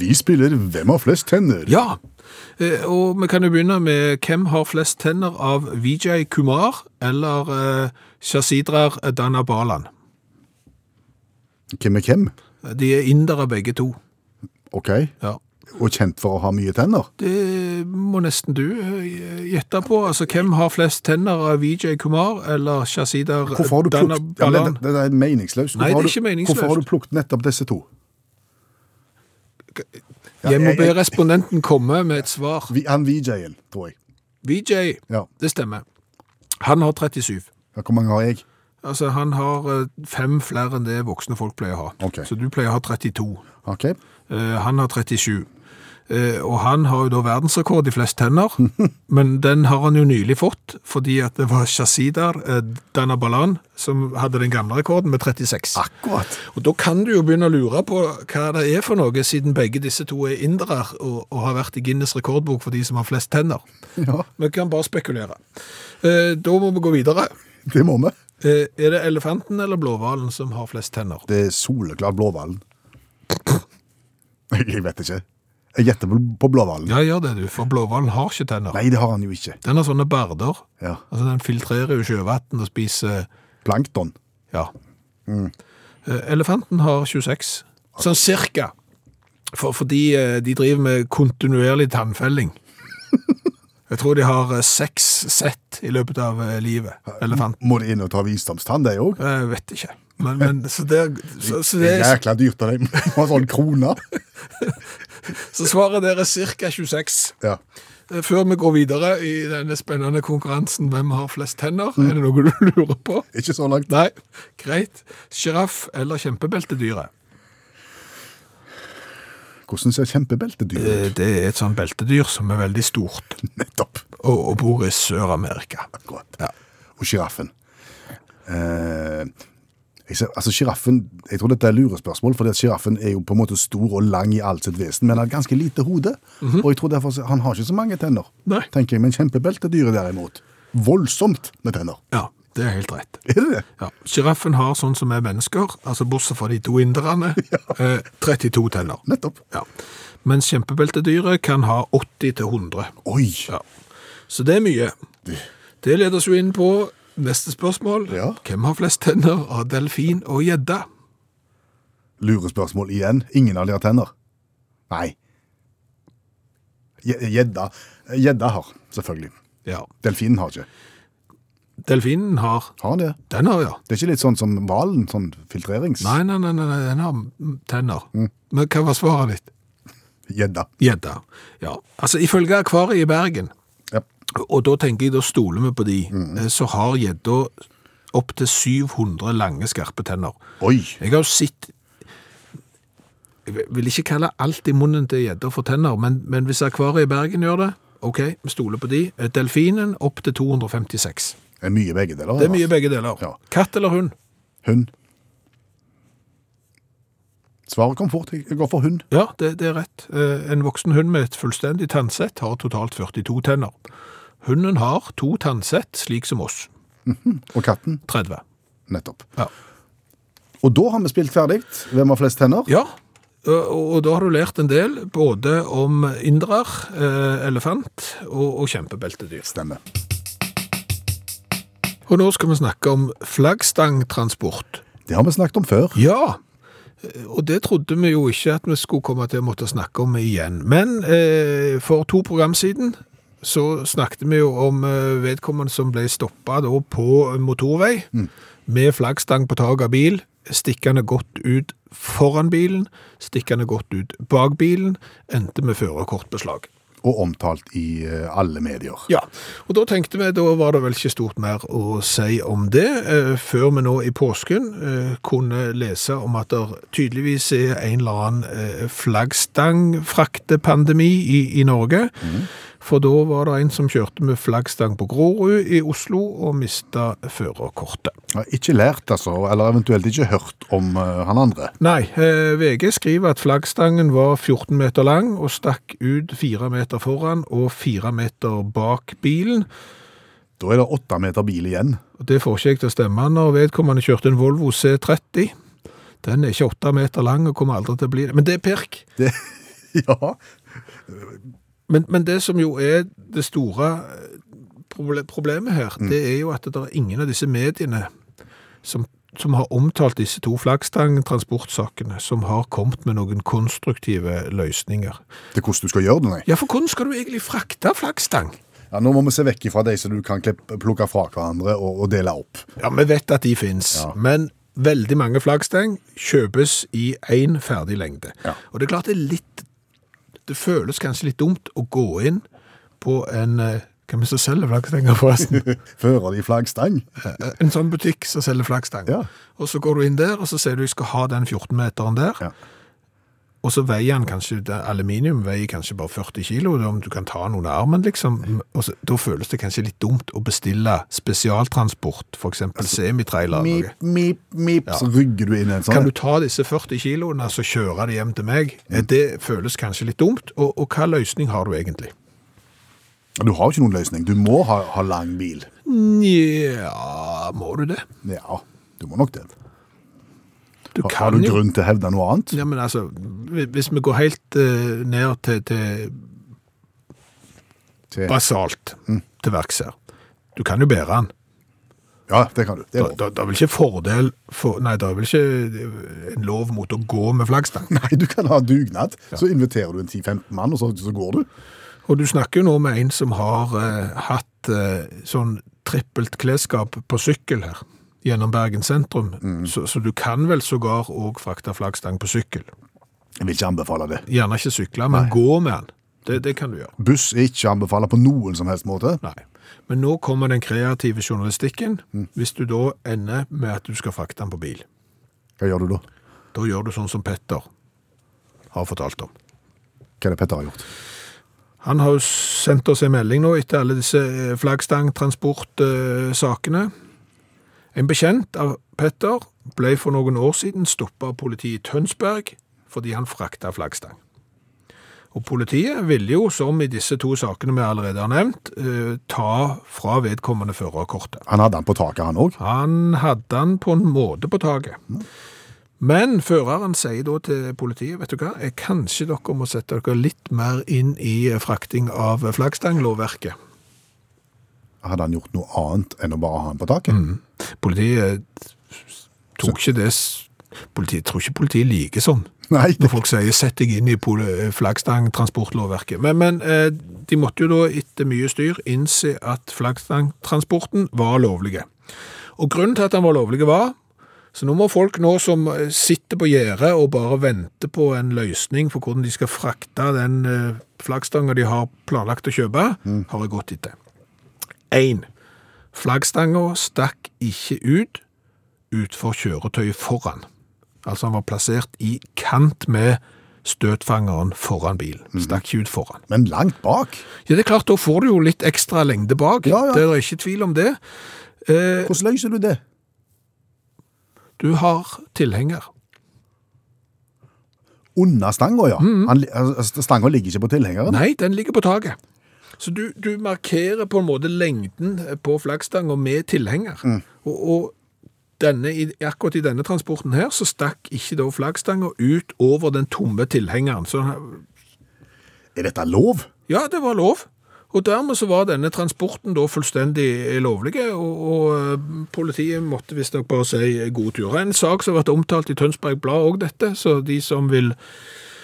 C: Vi spiller Hvem har flest tenner?
B: Ja, eh, og vi kan jo begynne med hvem har flest tenner av Vijay Kumar eller eh, Shasidrar Danabalan.
C: Hvem er hvem?
B: De er indere begge to.
C: Ok.
B: Ja.
C: Og kjent for å ha mye tenner?
B: Det må nesten du eh, gjette på. Altså, hvem har flest tenner av Vijay Kumar eller Shasidar
C: Hvorfor har du plukket ja, men
B: Danabalan?
C: det, det er meningsløst. Hvorfor
B: Nei, det er
C: har du-
B: ikke meningsløst.
C: Hvorfor har du plukket nettopp disse to?
B: Jeg må
C: jeg-
B: be
C: jeg-
B: respondenten komme med et svar.
C: Vi- Han VJ-en, tror jeg.
B: Vijay,
C: Ja.
B: det stemmer. Han har 37.
C: Ja, Hvor mange har jeg?
B: Altså, han har eh, fem flere enn det voksne folk pleier å ha.
C: Ok.
B: Så du pleier å ha 32.
C: Ok.
B: Eh, Han har 37. Eh, Og han har jo da verdensrekord i flest tenner, men den har han jo nylig fått, fordi at det var Shasidar eh, Danabalan som hadde den gamle rekorden med 36.
C: Ah. Akkurat.
B: Og da kan du jo begynne å lure på hva det er for noe, siden begge disse to er indere og, og har vært i Guinness rekordbok for de som har flest tenner.
C: [LAUGHS] Ja,
B: Vi kan bare spekulere. Eh, Da må vi gå videre.
C: det må vi.
B: Eh, Er det elefanten eller blåvalen som har flest tenner?
C: Det er soleklart blåhvalen. Jeg vet ikke. Jeg gjetter på- på blåhvalen.
B: Ja, gjør det du, for blåvalen har ikke tenner.
C: Nei, det har han jo ikke.
B: Den har sånne barder.
C: Ja.
B: Altså, den filtrerer jo sjøvann og spiser
C: Plankton.
B: Ja. Eh, Elefanten har 26. Sånn cirka. For, fordi eh, de driver med kontinuerlig tannfelling. Jeg tror de har eh, seks sett i løpet av eh, livet. Elefanten.
C: Må det inn og ta visdomstann, det òg?
B: Jeg vet ikke. Men, men så, det, så, så, det,
C: Jækla dyrt av deg. [LAUGHS] Må ha sånn krone.
B: så svaret der er cirka 26.
C: Ja.
B: Eh, Før vi går videre i denne spennende konkurransen Hvem har flest tenner? Er det noe du lurer på?
C: Ikke så langt.
B: Nei, greit. Sjiraff eller kjempebeltedyret?
C: Hvordan ser kjempebeltedyr ut?
B: Det er et sånn beltedyr som er veldig stort
C: Nettopp.
B: og, og bor i Sør-Amerika.
C: Akkurat.
B: Ja.
C: Og sjiraffen. Eh, jeg ser- altså, giraffen, jeg tror dette er lurespørsmål, fordi at sjiraffen er jo på en måte stor og lang i alt sitt vesen, men har et ganske lite hode.
B: Mhm.
C: Og jeg tror derfor så- han har ikke så mange tenner,
B: Nei.
C: tenker jeg. Men kjempebeltedyret derimot, voldsomt med tenner.
B: ja, det er helt rett.
C: Er det det?
B: Ja, Sjiraffen har sånn som er mennesker, altså bortsett fra de to inderne, eh, 32 tenner.
C: Nettopp.
B: Ja. Mens kjempebeltedyret kan ha 80 til 100.
C: Oi!
B: Ja. Så det er mye. Det leder oss jo inn på neste spørsmål.
C: Ja.
B: Hvem har flest tenner av delfin og gjedde?
C: Lurespørsmål igjen. Ingen av de har tenner. Nei. Gje- Gjedda Gjedda har, selvfølgelig.
B: Ja.
C: Delfinen har ikke.
B: Delfinen har
C: Har han det?
B: Den har, ja.
C: Det er ikke litt sånn som hvalen? Sånn filtrerings...
B: Nei, nei, nei, nei, nei, den har mm, tenner. Men hva var svaret ditt?
C: Gjedda.
B: Gjedda. Ja. Altså, ifølge Akvariet i Bergen,
C: Ja.
B: og da tenker jeg da stoler vi på de, eh, så har gjedda opptil 700 lange, skarpe tenner.
C: Oi!
B: Jeg har jo sett jeg vil ikke kalle alt i munnen til gjedder for tenner, men, men hvis akvariet i Bergen gjør det, ok, vi stoler på de. Delfinen opp til 256.
C: Det er mye begge deler.
B: Det er mye begge deler.
C: Ja.
B: Katt eller hund?
C: Hund. Svaret kom fort. Jeg går for hund.
B: Ja, det, det er rett. Eh, En voksen hund med et fullstendig tannsett har totalt 42 tenner. Hunden har to tannsett, slik som oss.
C: Og katten,
B: 30.
C: nettopp.
B: Ja.
C: Og da har vi spilt ferdig. Hvem har flest tenner?
B: Ja, og, og da har du lært en del både om indrer, eh, elefant og, og kjempebeltedyr.
C: Stemmer.
B: Og nå skal vi snakke om flaggstangtransport.
C: Det har vi snakket om før.
B: Ja, og det trodde vi jo ikke at vi skulle komme til å måtte snakke om igjen. Men eh, for to program siden så snakket vi jo om eh, vedkommende som ble stoppa da på motorvei med flaggstang på taket av bil, stikkende godt ut foran bilen, stikkende godt ut bak bilen, endte med førerkortbeslag.
C: Og omtalt i eh, alle medier.
B: Ja, og da tenkte vi, da var det vel ikke stort mer å si om det, eh, før vi nå i påsken eh, kunne lese om at det tydeligvis er en eller annen eh, flaggstangfraktepandemi i, i Norge. For da var det en som kjørte med flaggstang på Grorud i Oslo og mista førerkortet.
C: Jeg har ikke lært, altså, eller eventuelt ikke hørt om eh, han andre.
B: Nei, eh, VG skriver at flaggstangen var 14 meter lang og stakk ut 4 meter foran og 4 meter bak bilen.
C: Da er det åtte meter bil igjen. [LAUGHS]
B: Og Det får ikke jeg til å stemme når vedkommende kjørte en Volvo C30. Den er ikke åtte meter lang og kommer aldri til å bli det. Men det er pirk.
C: Det, ja.
B: Men, men det som jo er det store eh, proble problemet her, det er jo at det er ingen av disse mediene som, som har omtalt disse to flaggstangtransportsakene, som har kommet med noen konstruktive løsninger.
C: Til hvordan du skal gjøre det, nei.
B: Ja, for hvordan skal du egentlig frakte flaggstang?
C: Ja, nå må vi se vekk ifra de som du kan klippe, plukke fra hverandre og, og dele opp.
B: Ja, vi vet at de finnes, men veldig mange flaggsteng kjøpes i én ferdig lengde.
C: Ja.
B: Og det er klart det er litt Det føles kanskje litt dumt å gå inn på en eh, Hvem er det som selger flaggstenger,
C: [LAUGHS]
B: forresten?
C: Fører de flaggstang?
B: en sånn butikk som selger flaggstang.
C: Ja.
B: Og så går du inn der, og så sier du jeg skal ha den 14-meteren der.
C: Ja.
B: Og så veier han kanskje det- Aluminium veier kanskje bare 40 kilo, det er om du kan ta den under armen, liksom. Og så, da føles det kanskje litt dumt å bestille spesialtransport, f.eks.
C: Altså,
B: semitrailer. eller noe.
C: Mip, mip, mip, så rygger du inn en sånn.
B: Kan du ta disse 40 kiloene og så kjøre det hjem til meg? Eh, Det føles kanskje litt dumt. Og, og hva løsning har du egentlig?
C: Du har jo ikke noen løsning. Du må ha, ha lang bil.
B: Nja, må du det?
C: Ja, du må nok det.
B: Du
C: Har, har
B: kan
C: du
B: jo
C: grunn til å hevde noe annet?
B: ja, men altså, hvi- Hvis vi går helt eh, ned til, til
C: Til,
B: basalt
C: Mm.
B: til verks her Du kan jo bære den.
C: ja, det kan du. Det
B: Da,
C: er lov.
B: da, da er vel ikke fordel for, Nei, det er vel ikke en lov mot å gå med flaggstang.
C: Nei, du kan ha dugnad. Så inviterer du en 10-15 mann, og så, så går du.
B: Og du snakker jo nå med en som har eh, hatt eh, sånn trippelt klesskap på sykkel her, gjennom Bergen sentrum. Så, så du kan vel sågar òg frakte flaggstang på sykkel.
C: Jeg vil ikke anbefale det.
B: Gjerne ikke sykle, men gå med den. Det, det kan du gjøre.
C: Buss er ikke anbefalt på noen som helst måte.
B: Nei. Men nå kommer den kreative journalistikken. Hvis du da ender med at du skal frakte den på bil,
C: Hva gjør du da?
B: da gjør du sånn som Petter har fortalt om.
C: Hva er det Petter har gjort?
B: Han har jo sendt oss en melding nå etter alle disse eh, flaggstangtransportsakene. En bekjent av Petter ble for noen år siden stoppa av politiet i Tønsberg fordi han frakta flaggstang. Og politiet ville jo, som i disse to sakene vi allerede har nevnt, eh, ta fra vedkommende førerkortet.
C: Han hadde han på taket, han òg.
B: Han hadde han på en måte på taket. Men føreren sier da til politiet, vet du hva, eh, kanskje dere må sette dere litt mer inn i eh, frakting av flaggstanglovverket.
C: Hadde han gjort noe annet enn å bare ha han på taket?
B: Politiet tok ikke det s- Politiet tror ikke politiet liker sånn.
C: Nei,
B: Når
C: det,
B: folk sier 'sett deg inn i poli- flaggstangtransportlovverket'. Men, men eh, de måtte jo da etter mye styr innse at flaggstangtransporten var lovlig. Og grunnen til at den var lovlig var Så nå må folk nå som eh, sitter på gjerdet og bare venter på en løsning for hvordan de skal frakte den eh, flaggstanga de har planlagt å kjøpe, har jeg gått etter. 1. Flaggstanga stakk ikke ut utfor kjøretøyet foran. Altså han var plassert i kant med støtfangeren foran bilen.
C: Mhm.
B: Stakk ikke ut foran.
C: Men langt bak.
B: Ja, det er klart, da får du jo litt ekstra lengde bak.
C: Ja, ja.
B: Det er ikke tvil om det. Eh,
C: Hvordan løser du det?
B: du har tilhenger.
C: Under stanga, ja. Han li- altså, Stanga ligger ikke på tilhengeren.
B: Mhm. Nei, den ligger på taket. Så du, du markerer på en måte lengden eh, på flaggstanga med tilhenger.
C: Mm.
B: Og, og denne, i- akkurat i denne transporten her, så stakk ikke da flaggstanga ut over den tomme tilhengeren. Så
C: Er dette lov?
B: ja, det var lov. Og dermed så var denne transporten da fullstendig eh, lovlig, og, og eh, politiet måtte visstnok bare si eh, god tur. En sak som har vært omtalt i Tønsberg Blad òg, dette, så de som vil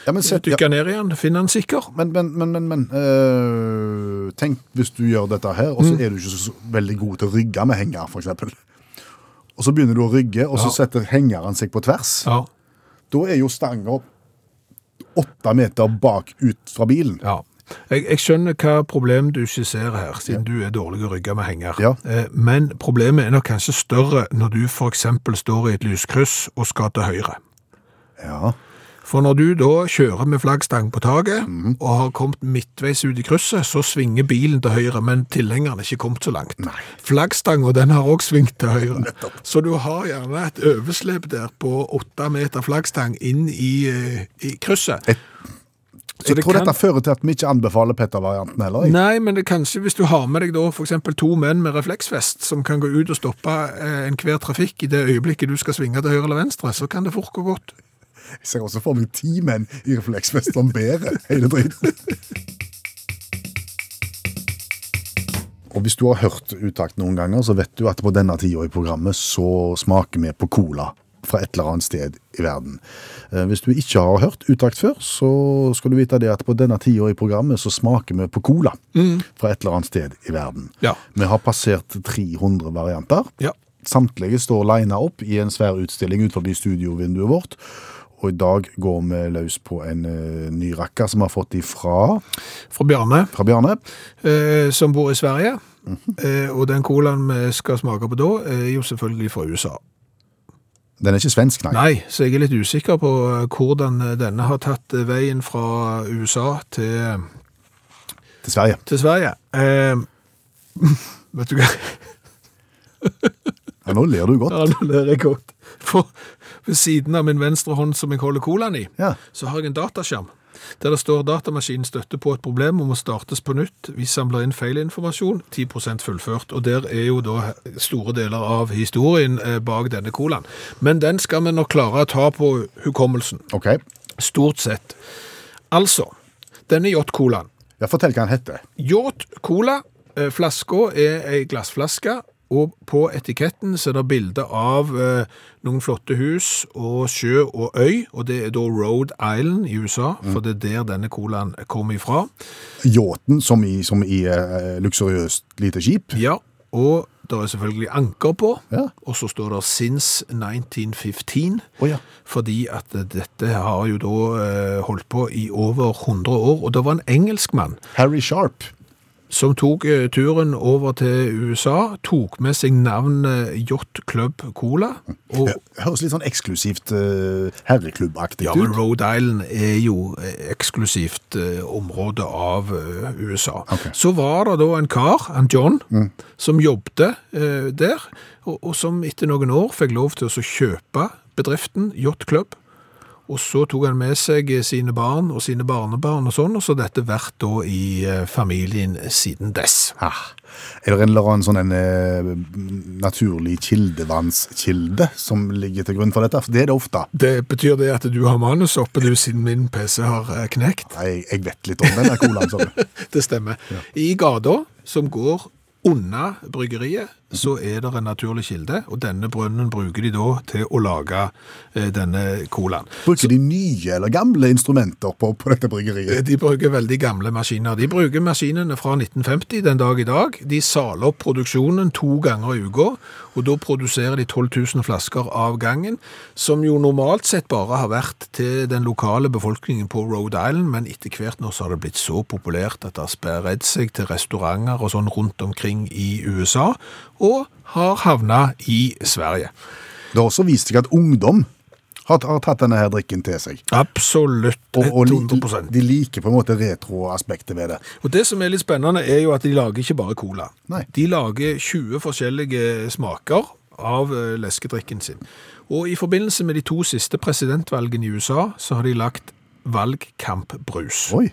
C: Ja, men, sett, ja.
B: dykke ned igjen, finner den sikker.
C: men, men, men, men, men øh, Tenk hvis du gjør dette her, og så
B: Mhm.
C: er du ikke så så veldig god til å rygge med henger, f.eks. Og så begynner du å rygge, og så
B: Ja.
C: setter hengeren seg på tvers.
B: Ja,
C: Da er jo stanga åtte meter bak ut fra bilen.
B: Ja. Jeg, jeg skjønner hva problem du skisserer her, siden du er dårlig å rygge med henger.
C: Ja.
B: Eh, Men problemet er nok kanskje større når du f.eks. står i et lyskryss og skal til høyre.
C: Ja.
B: For når du da kjører med flaggstang på taket og har kommet midtveis ut i krysset, så svinger bilen til høyre, men tilhengeren er ikke kommet så langt. Flaggstanga den har òg svingt til høyre. Så du har gjerne et overslep der på åtte meter flaggstang inn i, eh, i krysset. Så
C: Jeg
B: det
C: tror
B: kan-
C: dette fører til at vi ikke anbefaler Petter-varianten heller. Jeg.
B: Nei, men det er kanskje hvis du har med deg da for eksempel to menn med refleksvest som kan gå ut og stoppe eh, enhver trafikk i det øyeblikket du skal svinge til høyre eller venstre, så kan det fort gå godt.
C: jeg ser også for meg ti menn i refleksvest som bærer hele driten. Og hvis du har hørt Utakt noen ganger, så vet du at på denne tida i programmet så smaker vi på cola fra et eller annet sted i verden. Eh, Hvis du ikke har hørt Utakt før, så skal du vite det at på denne tida i programmet så smaker vi på cola fra et eller annet sted i verden.
B: Ja.
C: Vi har passert 300 varianter.
B: Ja.
C: Samtlige står lina opp i en svær utstilling utenfor studiovinduet vårt. Og i dag går vi løs på en eh, ny rakker som vi har fått ifra
B: Fra Bjarne,
C: fra Bjarne.
B: eh, som bor i Sverige, eh, og den colaen vi skal smake på da, er jo selvfølgelig fra USA.
C: Den er ikke svensk, nei.
B: Nei, så jeg er litt usikker på eh, hvordan denne har tatt eh, veien fra USA til, eh,
C: Til Sverige.
B: til Sverige. Eh, [LAUGHS] vet du hva?
C: Ja, nå ler du godt.
B: Ja, nå ler jeg godt. For ved siden av min venstre hånd som jeg holder colaen i,
C: Ja.
B: så har jeg en dataskjerm. Der det står datamaskinen støtter på et problem og må startes på nytt. Vi samler inn feilinformasjon, 10 fullført. Og der er jo da store deler av historien eh, bak denne colaen. Men den skal vi nok klare å ta på hukommelsen.
C: Ok.
B: Stort sett. Altså, denne yacht-colaen.
C: Ja, fortell hva han heter.
B: Yacht Cola. eh, Flaska er ei glassflaske, og på etiketten så er det bilde av eh, noen flotte hus og sjø og øy, og det er da Rhode Island i USA,
C: Mm.
B: for det er der denne colaen kommer ifra.
C: Yachten, som i, som i eh, luksuriøst lite skip.
B: Ja, og det er selvfølgelig anker på,
C: Ja.
B: og så står det 'Since 1915'.
C: Å ja.
B: Fordi at dette har jo da eh, holdt på i over 100 år, og det var en engelskmann
C: Harry Sharp.
B: som tok eh, turen over til USA, tok med seg navnet Yacht Club Cola. Og,
C: Ja, Høres litt sånn eksklusivt eh, herreklubbaktig
B: ja, men
C: ut.
B: Rhode Island er jo eh, eksklusivt eh, område av eh, USA.
C: Ok.
B: Så var det da en kar, en John, som jobbte eh, der, og, og som etter noen år fikk lov til å så kjøpe bedriften Yacht Club. Og så tok han med seg eh, sine barn og sine barnebarn og sånn, og så har dette vært da i eh, familien siden dess.
C: Ah. Er det en eller annen sånn en, eh, naturlig kildevannskilde som ligger til grunn for dette? For det er det ofte.
B: Det betyr det at du har manus oppe du siden min PC har eh, knekt?
C: Jeg, jeg altså. vet litt om den der colaen. sa du.
B: Det stemmer. I gata som går unna bryggeriet, så er det en naturlig kilde, og denne brønnen bruker de da til å lage eh, denne colaen.
C: Bruker de nye eller gamle instrumenter på, på dette
B: Eh,
C: bryggeriet?
B: De bruker veldig gamle maskiner. De bruker maskinene fra 1950 den dag i dag. De saler opp produksjonen to ganger i uka, og da produserer de 12 000 flasker av gangen, som jo normalt sett bare har vært til den lokale befolkningen på Rhode Island, men etter hvert nå så har det blitt så populært at det har spredt seg til restauranter og sånn rundt omkring i USA, og har havnet i Sverige.
C: Det har også vist seg at ungdom har, har tatt denne her drikken til seg.
B: Absolutt.
C: Og, og li,
B: 100
C: de liker på en måte retroaspektet ved det.
B: Og det som er litt spennende, er jo at de lager ikke bare cola.
C: Nei.
B: De lager 20 forskjellige smaker av eh, leskedrikken sin. Og i forbindelse med de to siste presidentvalgene i USA, så har de lagt valgkampbrus.
C: Oi,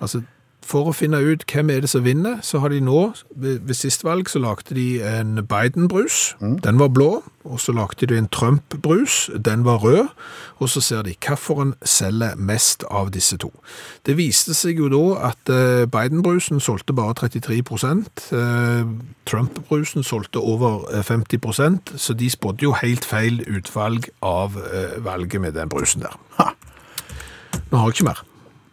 B: Altså, for å finne ut hvem er det som vinner, så har de nå, ved, ved sist valg, så lagde de en Biden-brus. Den var blå, og så lagde de en Trump-brus. Den var rød. Og så ser de hvilken selger mest av disse to. Det viste seg jo da at eh, Biden-brusen solgte bare 33 eh, Trump-brusen solgte over eh, 50 så de spådde jo helt feil utvalg av eh, valget med den brusen der. Nå har jeg ikke mer.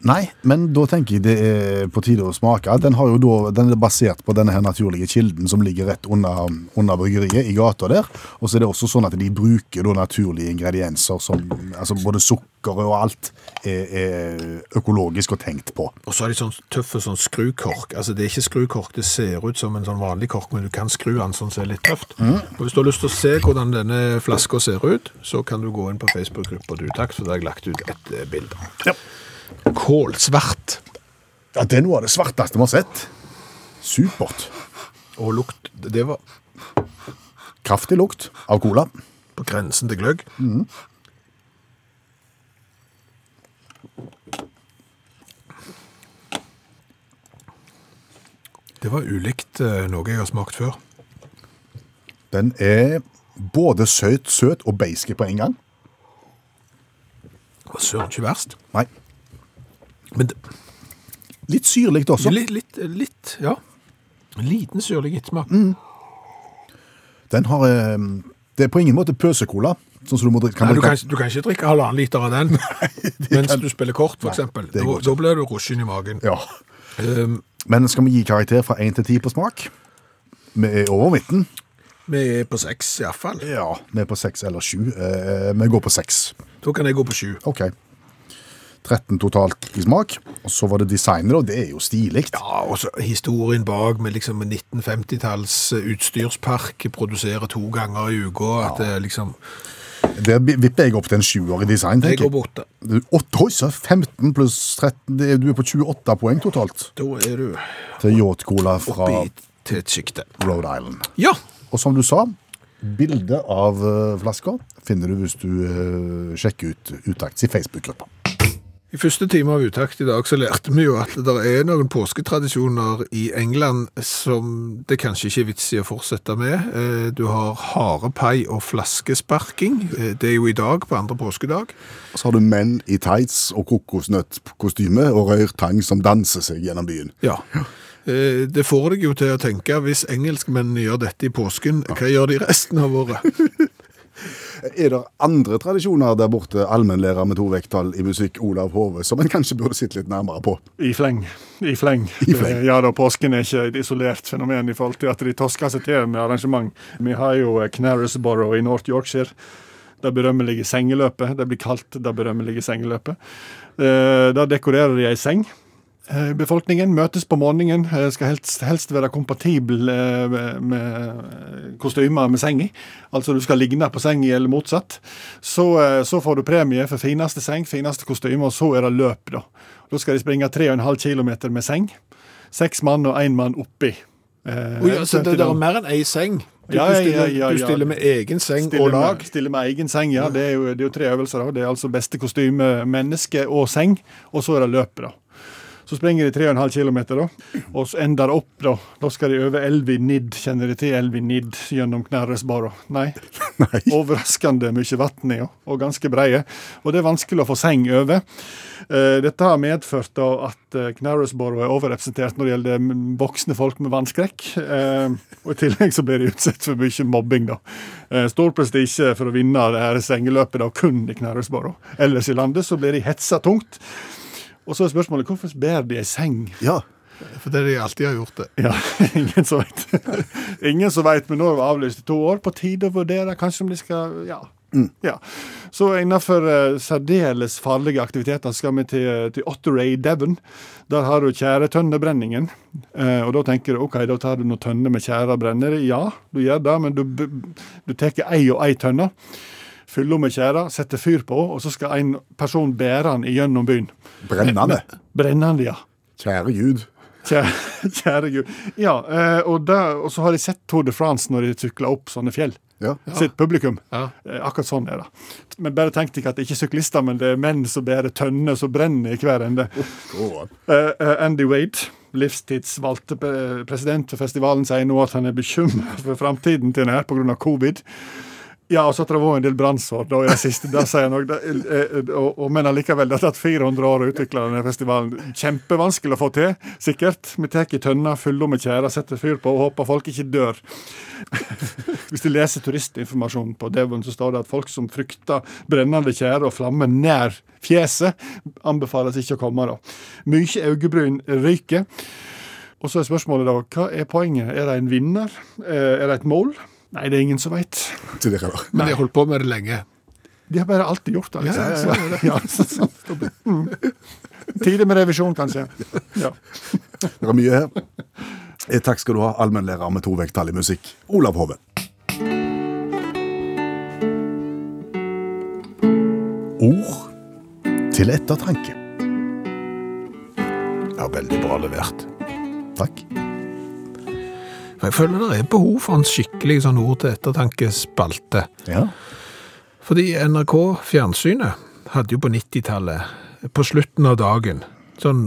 C: Nei, men da tenker jeg det er på tide å smake. Den, har jo da, den er basert på denne her naturlige kilden som ligger rett under, under bryggeriet, i gata der. Og så er det også sånn at de bruker da naturlige ingredienser som altså både sukkeret og alt er, er økologisk og tenkt på.
B: Og så har de sånn tøffe sånn skrukork. Altså, det er ikke skrukork, det ser ut som en sånn vanlig kork, men du kan skru den sånn som er litt tøft. Og hvis du har lyst til å se hvordan denne flaska ser ut, så kan du gå inn på Facebook-gruppa du takk, for der har jeg lagt ut et eh, bilde.
C: Ja.
B: Kålsvart
C: Ja, Det er noe av det svarteste vi har sett. Supert.
B: og lukt Det var
C: Kraftig lukt av cola.
B: på grensen til gløgg. Det var ulikt eh, noe jeg har smakt før.
C: Den er både søt, søt og beiske på en gang.
B: Det var Søren, ikke verst.
C: Nei,
B: Men det,
C: litt syrlig også.
B: Litt, litt, litt ja. En liten syrlig gittsmak.
C: Mm. Den har eh, Det er på ingen måte pøsekola. Sånn som du må drikke, kan
B: Nei, du,
C: drikke-
B: kan, ikke- du kan ikke drikke halvannen liter av
C: [LAUGHS]
B: den mens du spiller kort, f.eks.
C: det
B: Da,
C: går ikke.
B: da blir du rushen i magen.
C: Ja.
B: Um,
C: Men skal vi gi karakter fra 1 til 10 på smak? Vi er over midten.
B: vi er på seks, iallfall.
C: Ja, vi er på 6 eller 7. Eh, vi går på 6.
B: Da kan jeg gå på sju.
C: OK. 13 totalt i smak. Og så var det designet, og det er jo stilig.
B: Ja, og så historien bak med liksom 1950-talls utstyrspark, produsere to ganger i uka at det liksom
C: Der bi- vipper jeg opp til en sjuer i design,
B: Jeg
C: tenker
B: går
C: jeg.
B: borte.
C: Du- åtte, Oi, så 15 pluss 13 det er- Du er på 28 poeng totalt
B: Da er du
C: til Yacht Cola fra
B: oppi til et sjikte.
C: Rhode Island.
B: Ja!
C: Og som du sa, bilde av eh, flasker finner du hvis du eh, sjekker ut Utakts i Facebook-gruppa.
B: I første time av Utakt i dag så lærte vi jo at det er noen påsketradisjoner i England som det kanskje ikke er vits i å fortsette med. Eh, Du har harepai og flaskesparking. Eh, Det er jo i dag, på andre påskedag.
C: Så har du menn i tights og kokosnøttkostyme og røyrtang som danser seg gjennom byen.
B: Ja. Eh, Det får deg jo til å tenke, hvis engelskmennene gjør dette i påsken, hva gjør de resten av [LAUGHS] året?
C: Er det andre tradisjoner der borte, allmennlærer med to vekttall i musikk, Olav Hove, som en kanskje burde sitte litt nærmere på?
E: I fleng. I fleng.
C: I fleng.
E: Eh, Ja da, påsken er ikke et isolert fenomen i forhold til at de tosker seg til med arrangement. Vi har jo eh, Knaresborough i North Yorkshire. Det berømmelige sengeløpet. Det blir kalt det berømmelige sengeløpet. Eh, Der dekorerer de ei seng. Eh, Befolkningen møtes på morgenen, eh, skal helst, helst være kompatibel eh, med- med kostymer med seng i. Altså du skal ligne på senga, eller motsatt. Så, eh, så får du premie for fineste seng, fineste kostyme, og så er det løp, da. Da skal de springe 3,5 km med seng. Seks mann og én mann oppi. Eh,
B: altså, det, det er mer enn ei seng. Du,
E: Ja,
B: du,
E: ja,
B: stiller,
E: ja, ja,
B: du
E: ja.
B: stiller med egen seng
E: Stille
B: og lag.
E: Med, stille med egen seng, ja. Det er jo, det er jo tre øvelser. da. Det er altså beste kostyme, menneske og seng. Og så er det løpet, da. Så springer de 3,5 km, da. Og så ender det opp, da. Da skal de over Elvi Nidd. Kjenner de til Elvi Nidd gjennom Knarresbara? Nei. Overraskende mye vann i ja, og ganske breie. Og det er vanskelig å få seng over. Eh, Dette har medført da at eh, Knarresborough er overrepresentert når det gjelder mm, voksne folk med vannskrekk. Eh, Og I tillegg så blir de utsatt for mye mobbing. da. Eh, Stor prestisje for å vinne det her sengeløpet da, kun i Knarresborough. Ellers i landet så blir de hetsa tungt. Og så er spørsmålet hvorfor ber de ei seng?
C: Ja.
B: For det er det de alltid har gjort det.
E: Ja, [LAUGHS] Ingen som veit. [LAUGHS] Ingen som vet, men nå er vi avlyst i to år. På tide å vurdere kanskje om de skal Ja. ja. Så innenfor eh, særdeles farlige aktiviteter skal vi til, eh, til Otteray Devon. Der har du tjæretønnebrenningen. Eh, og da tenker du OK, da tar du noen tønner med tjære og brenner. Ja, du gjør det, men du, b- du tar ei og ei tønne. fyller med tjære, setter fyr på, og så skal en person bære den gjennom byen.
C: Brennende.
E: Brenner den, ja.
C: Kjære Gud.
E: Kjære, [LAUGHS] kjære Gud. Ja, eh, og, da- og så har jeg sett Tour de France når de sykler opp sånne fjell.
C: Ja.
E: Sitt publikum.
B: Ja.
E: Eh, Akkurat sånn er det. Men bare tenk deg at det ikke er syklister, men det er menn som bærer tønner som brenner i hver ende.
C: Å,
E: Eh, eh, Andy Wade, livstidsvalgte pre- president for festivalen, sier nå at han er bekymret for framtiden til denne pga. covid. Ja, og så at det var en del brannsår da i det siste. Det sier han òg. Det- eh, eh, og- og- Men allikevel, det har tatt 400 år å utvikle denne festivalen. Kjempevanskelig å få til, sikkert. Vi tar i tønner, fyller med tjære, setter fyr på og håper folk ikke dør. Hvis de leser turistinformasjonen på Devon, så står det at folk som frykter brennende tjære og flammer nær fjeset, anbefales ikke å komme. da. Mykje øyebryn ryker. Og så er spørsmålet da, hva er poenget? Er det en vinner? Eh, Er det et mål? Nei, det er ingen som veit.
C: Til dere, da.
B: Men de har holdt på med det lenge.
E: De har bare alltid gjort det.
B: Ja, ja, ja,
E: liksom. Ja, så- så- Mm. Tidlig med revisjon, kanskje. Ja.
C: Det er mye her. Eh, Takk skal du ha, allmennlærer med to vekttall i musikk, Olav Hove. Ord til ettertanke.
B: Ja, veldig bra levert.
C: Takk.
B: For jeg føler det er behov for en skikkelig sånn ord til ettertankespalte.
C: Ja.
B: Fordi NRK Fjernsynet hadde jo på 90-tallet, på slutten av dagen, sånn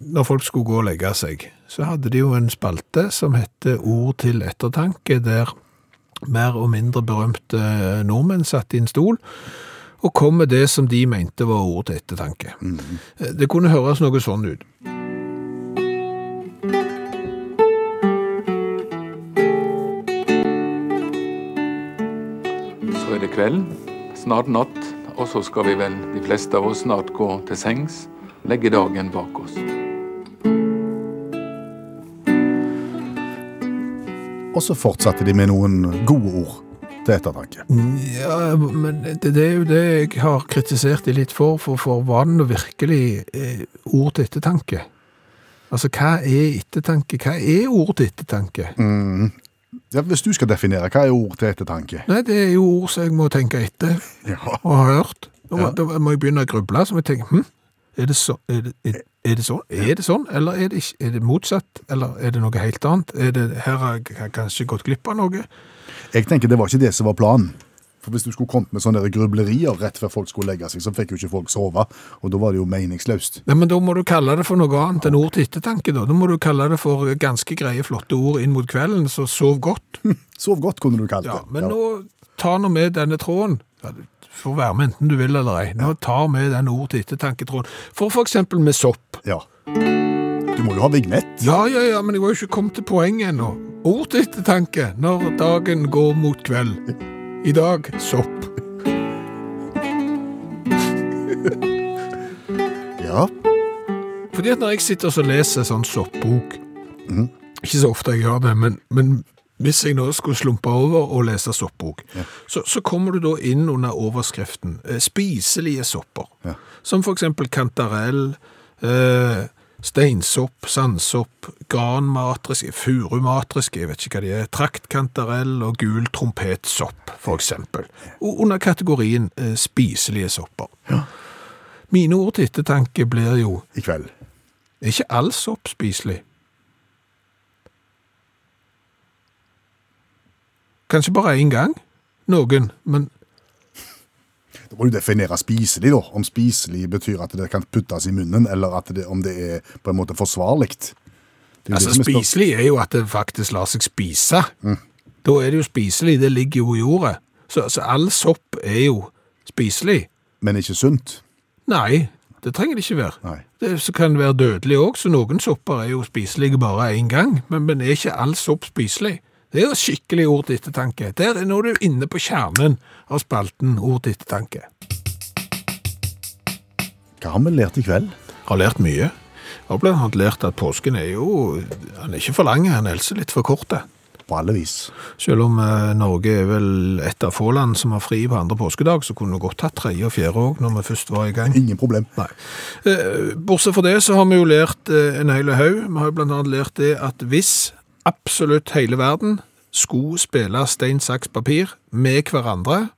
B: når folk skulle gå og legge seg, så hadde de jo en spalte som hette Ord til ettertanke, der mer og mindre berømte nordmenn satt i en stol og kom med det som de mente var ord til ettertanke. Det kunne høres noe sånn ut.
F: Så er det kveld, snart natt, og så skal vi vel, de fleste av oss, snart gå til sengs, legge dagen bak oss.
C: Og så fortsatte de med noen gode ord til ettertanke.
B: Ja, men det, det er jo det jeg har kritisert de litt for, for, for var det nå virkelig eh, ord til ettertanke? Altså, hva er ettertanke? Hva er ord til ettertanke?
C: Ja, hvis du skal definere, hva er ord til ettertanke?
B: Nei, det er jo ord som jeg må tenke etter
C: Ja.
B: og har hørt. Da må, da må jeg begynne å gruble, så må jeg tenke, hm, er det, så, er, det, er, er det sånn? Er det sånn, eller er det, ikke, er det motsatt? Eller er det noe helt annet? Er det, her har jeg kanskje gått glipp av noe?
C: Jeg tenker det var ikke det som var planen. For Hvis du skulle kommet med sånne der grublerier rett før folk skulle legge seg, så fikk jo ikke folk sove. Og da var det jo meningsløst.
B: Nei, men da må du kalle det for noe annet enn ord til ettertanke, da. Da må du kalle det for ganske greie, flotte ord inn mot kvelden, så sov godt.
C: Sov godt, kunne du kalt det.
B: Ja, men nå tar nå med denne tråden. Ja, du får være med enten du vil eller ei. Nå tar med den ord til ettertanke-tråden. For for eksempel med sopp.
C: Ja. Du må jo ha vignett.
B: Ja, ja, ja, men jeg var jo ikke kommet til poenget ennå. Ord til ettertanke når dagen går mot kveld. I dag sopp.
C: Ja.
B: Fordi at når jeg sitter og så leser sånn soppbok, ikke så ofte jeg gjør det, men, men hvis jeg nå skulle slumpe over og lese soppbok, så, så kommer du da inn under overskriften eh, spiselige sopper,
C: Ja.
B: som for eksempel kantarell, eh, steinsopp, sandsopp, granmatriske, furumatriske, jeg vet ikke hva de er, traktkantarell og gul trompetsopp, for eksempel. Og under kategorien eh, spiselige sopper. Mine ord til ettertanke blir jo
C: I kveld.
B: er ikke all sopp spiselig? Kanskje bare én gang? Noen, men
C: Da må du definere spiselig, da. Om spiselig betyr at det kan puttes i munnen, eller at det, om det er på en måte forsvarlig. Det er jo
B: altså,
C: det som er Mm. spør-
B: spiselig er jo at det faktisk lar seg spise. Da er det jo spiselig, det ligger jo i jordet. Så altså, all sopp er jo spiselig.
C: Men ikke sunt.
B: Nei, det trenger det ikke være.
C: Nei.
B: Det så kan det være dødelig òg, så noen sopper er jo spiselige bare én gang. Men, men er ikke all sopp spiselig? Det er jo skikkelig ord til ettertanke. Der er nå er du inne på kjernen av spalten ord til ettertanke.
C: Hva har vi lært i kveld?
B: Har lært mye. Har blant annet lært at påsken er jo Han er ikke for lang, han er altså litt for kort. det.
C: På alle vis.
B: Selv om eh, Norge er vel et av få land som har fri på andre påskedag, så kunne vi godt hatt tredje og fjerde òg, når vi først var i gang.
C: Ingen problem.
B: Nei. Eh, Bortsett fra det så har vi jo lært eh, en hel haug. Vi har jo blant annet lært det at hvis absolutt hele verden skulle spille stein, saks, papir med hverandre,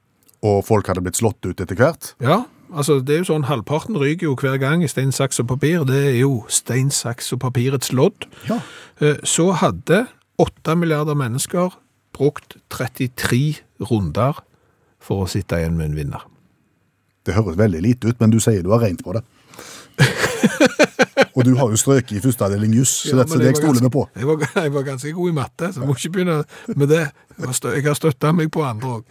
C: og folk hadde blitt slått ut etter hvert.
B: Ja, altså det er jo sånn, halvparten ryker jo hver gang i stein, saks og papir. Det er jo stein, saks og papirets lodd.
C: Ja.
B: Eh, Så hadde 8 milliarder mennesker brukt 33 runder for å sitte igjen med en vinner.
C: Det høres veldig lite ut, men du sier du har regnet på det. og du har jo strøket i førsteavdeling juss, så
B: Ja,
C: dette
B: men
C: det jeg
B: var
C: stoler vi på.
B: ganske- Jeg var, jeg var ganske god i matte, så jeg må ikke begynne med det. Jeg har stø- Jeg har støtta meg på andre òg.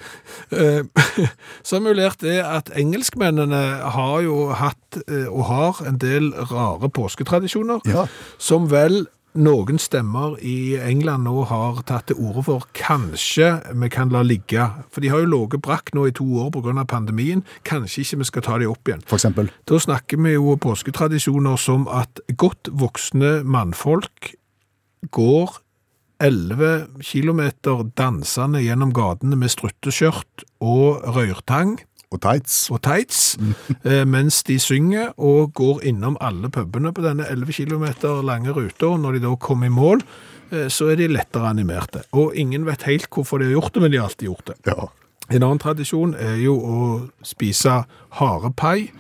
B: [LAUGHS] Så mulert er at engelskmennene har jo hatt, eh, og har, en del rare påsketradisjoner.
C: Ja.
B: Som vel noen stemmer i England nå har tatt til orde for kanskje vi kan la ligge. For de har jo ligget brakk nå i to år pga. pandemien. Kanskje ikke vi skal ta de opp igjen.
C: For eksempel.
B: Da snakker vi jo påsketradisjoner som at godt voksne mannfolk går 11 kilometer dansende gjennom gatene med strutteskjørt og røyrtang
C: Og tights.
B: og tights, eh, mens de synger og går innom alle pubene på denne 11 kilometer lange ruta. og Når de da kommer i mål, eh, så er de lettere animerte. Og ingen vet helt hvorfor de har gjort det, men de har alltid gjort det.
C: Ja.
B: En annen tradisjon er jo å spise harepai.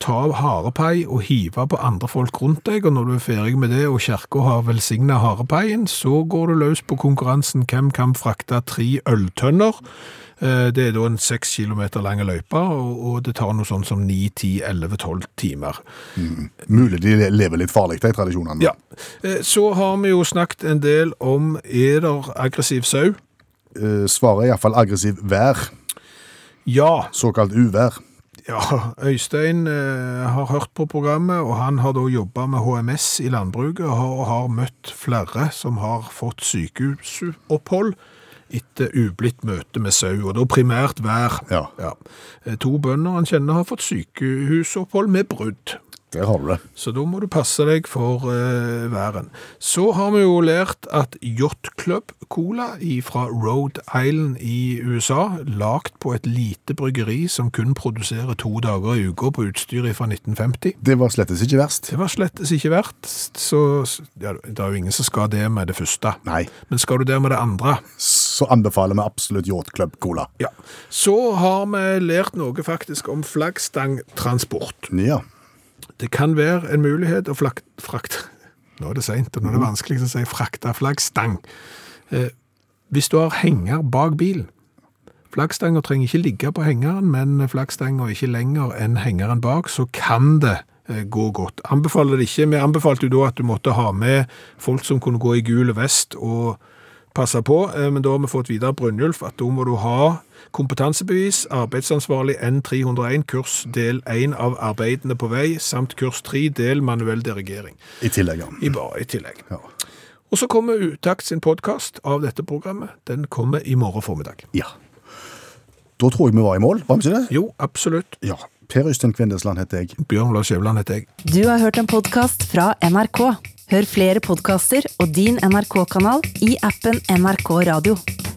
B: Ta harepai og hive på andre folk rundt deg, og når du er ferdig med det og kjerka har velsigna harepaien, så går du løs på konkurransen hvem kan frakte tre øltønner. Eh, Det er da en seks kilometer lang løype, og og det tar noe sånn som ni, ti, elleve, tolv timer.
C: Mulig de le- lever litt farlig, de tradisjonene.
B: Ja. Eh, Så har vi jo snakket en del om er der aggressiv sau?
C: Eh, Svaret er iallfall aggressiv vær,
B: Ja.
C: såkalt uvær.
B: Ja, Øystein eh, har hørt på programmet, og han har da jobba med HMS i landbruket og har, og har møtt flere som har fått sykehusopphold etter ublidt møte med sau, og da primært vær.
C: Ja.
B: Eh, To bønder han kjenner har fått sykehusopphold med brudd.
C: Der har du det.
B: Så da må du passe deg for eh, væren. Så har vi jo lært at Yacht Club Cola fra Rhode Island i USA, lagt på et lite bryggeri som kun produserer to dager i uka på utstyret fra 1950.
C: Det var slettes ikke verst.
B: Det var slettes ikke verdt, så ja, det er jo ingen som skal det med det første.
C: Nei.
B: Men skal du det med det andre?
C: Så anbefaler vi absolutt Yacht Club Cola.
B: Ja. Så har vi lært noe faktisk om flaggstangtransport.
C: Ja.
B: Det kan være en mulighet å flak- frakte [LAUGHS] Nå er det seint, og nå er det vanskelig å si frakte flaggstang. Eh, hvis du har henger bak bilen Flaggstanger trenger ikke ligge på hengeren, men flaggstanger ikke lenger enn hengeren bak, så kan det eh, gå godt. Anbefaler det ikke. Vi anbefalte jo da at du måtte ha med folk som kunne gå i gul vest og passe på, eh, men da har vi fått videre Brynjulf at da må du ha kompetansebevis, arbeidsansvarlig N301, kurs del 1 av arbeidene på vei, samt kurs 3 del manuell dirigering,
C: I tillegg, ja.
B: i, ba- i tillegg.
C: Ja.
B: Og så kommer Utakt sin podkast av dette programmet. Den kommer i morgen formiddag.
C: ja. Da tror jeg vi var i mål, var vi ikke det?
B: Jo, absolutt.
C: Ja. Per Øystein Kvindesland heter jeg.
B: Bjørn Lars Skjævland heter jeg.
A: Du har hørt en podkast fra NRK. Hør flere podkaster og din NRK-kanal i appen NRK Radio.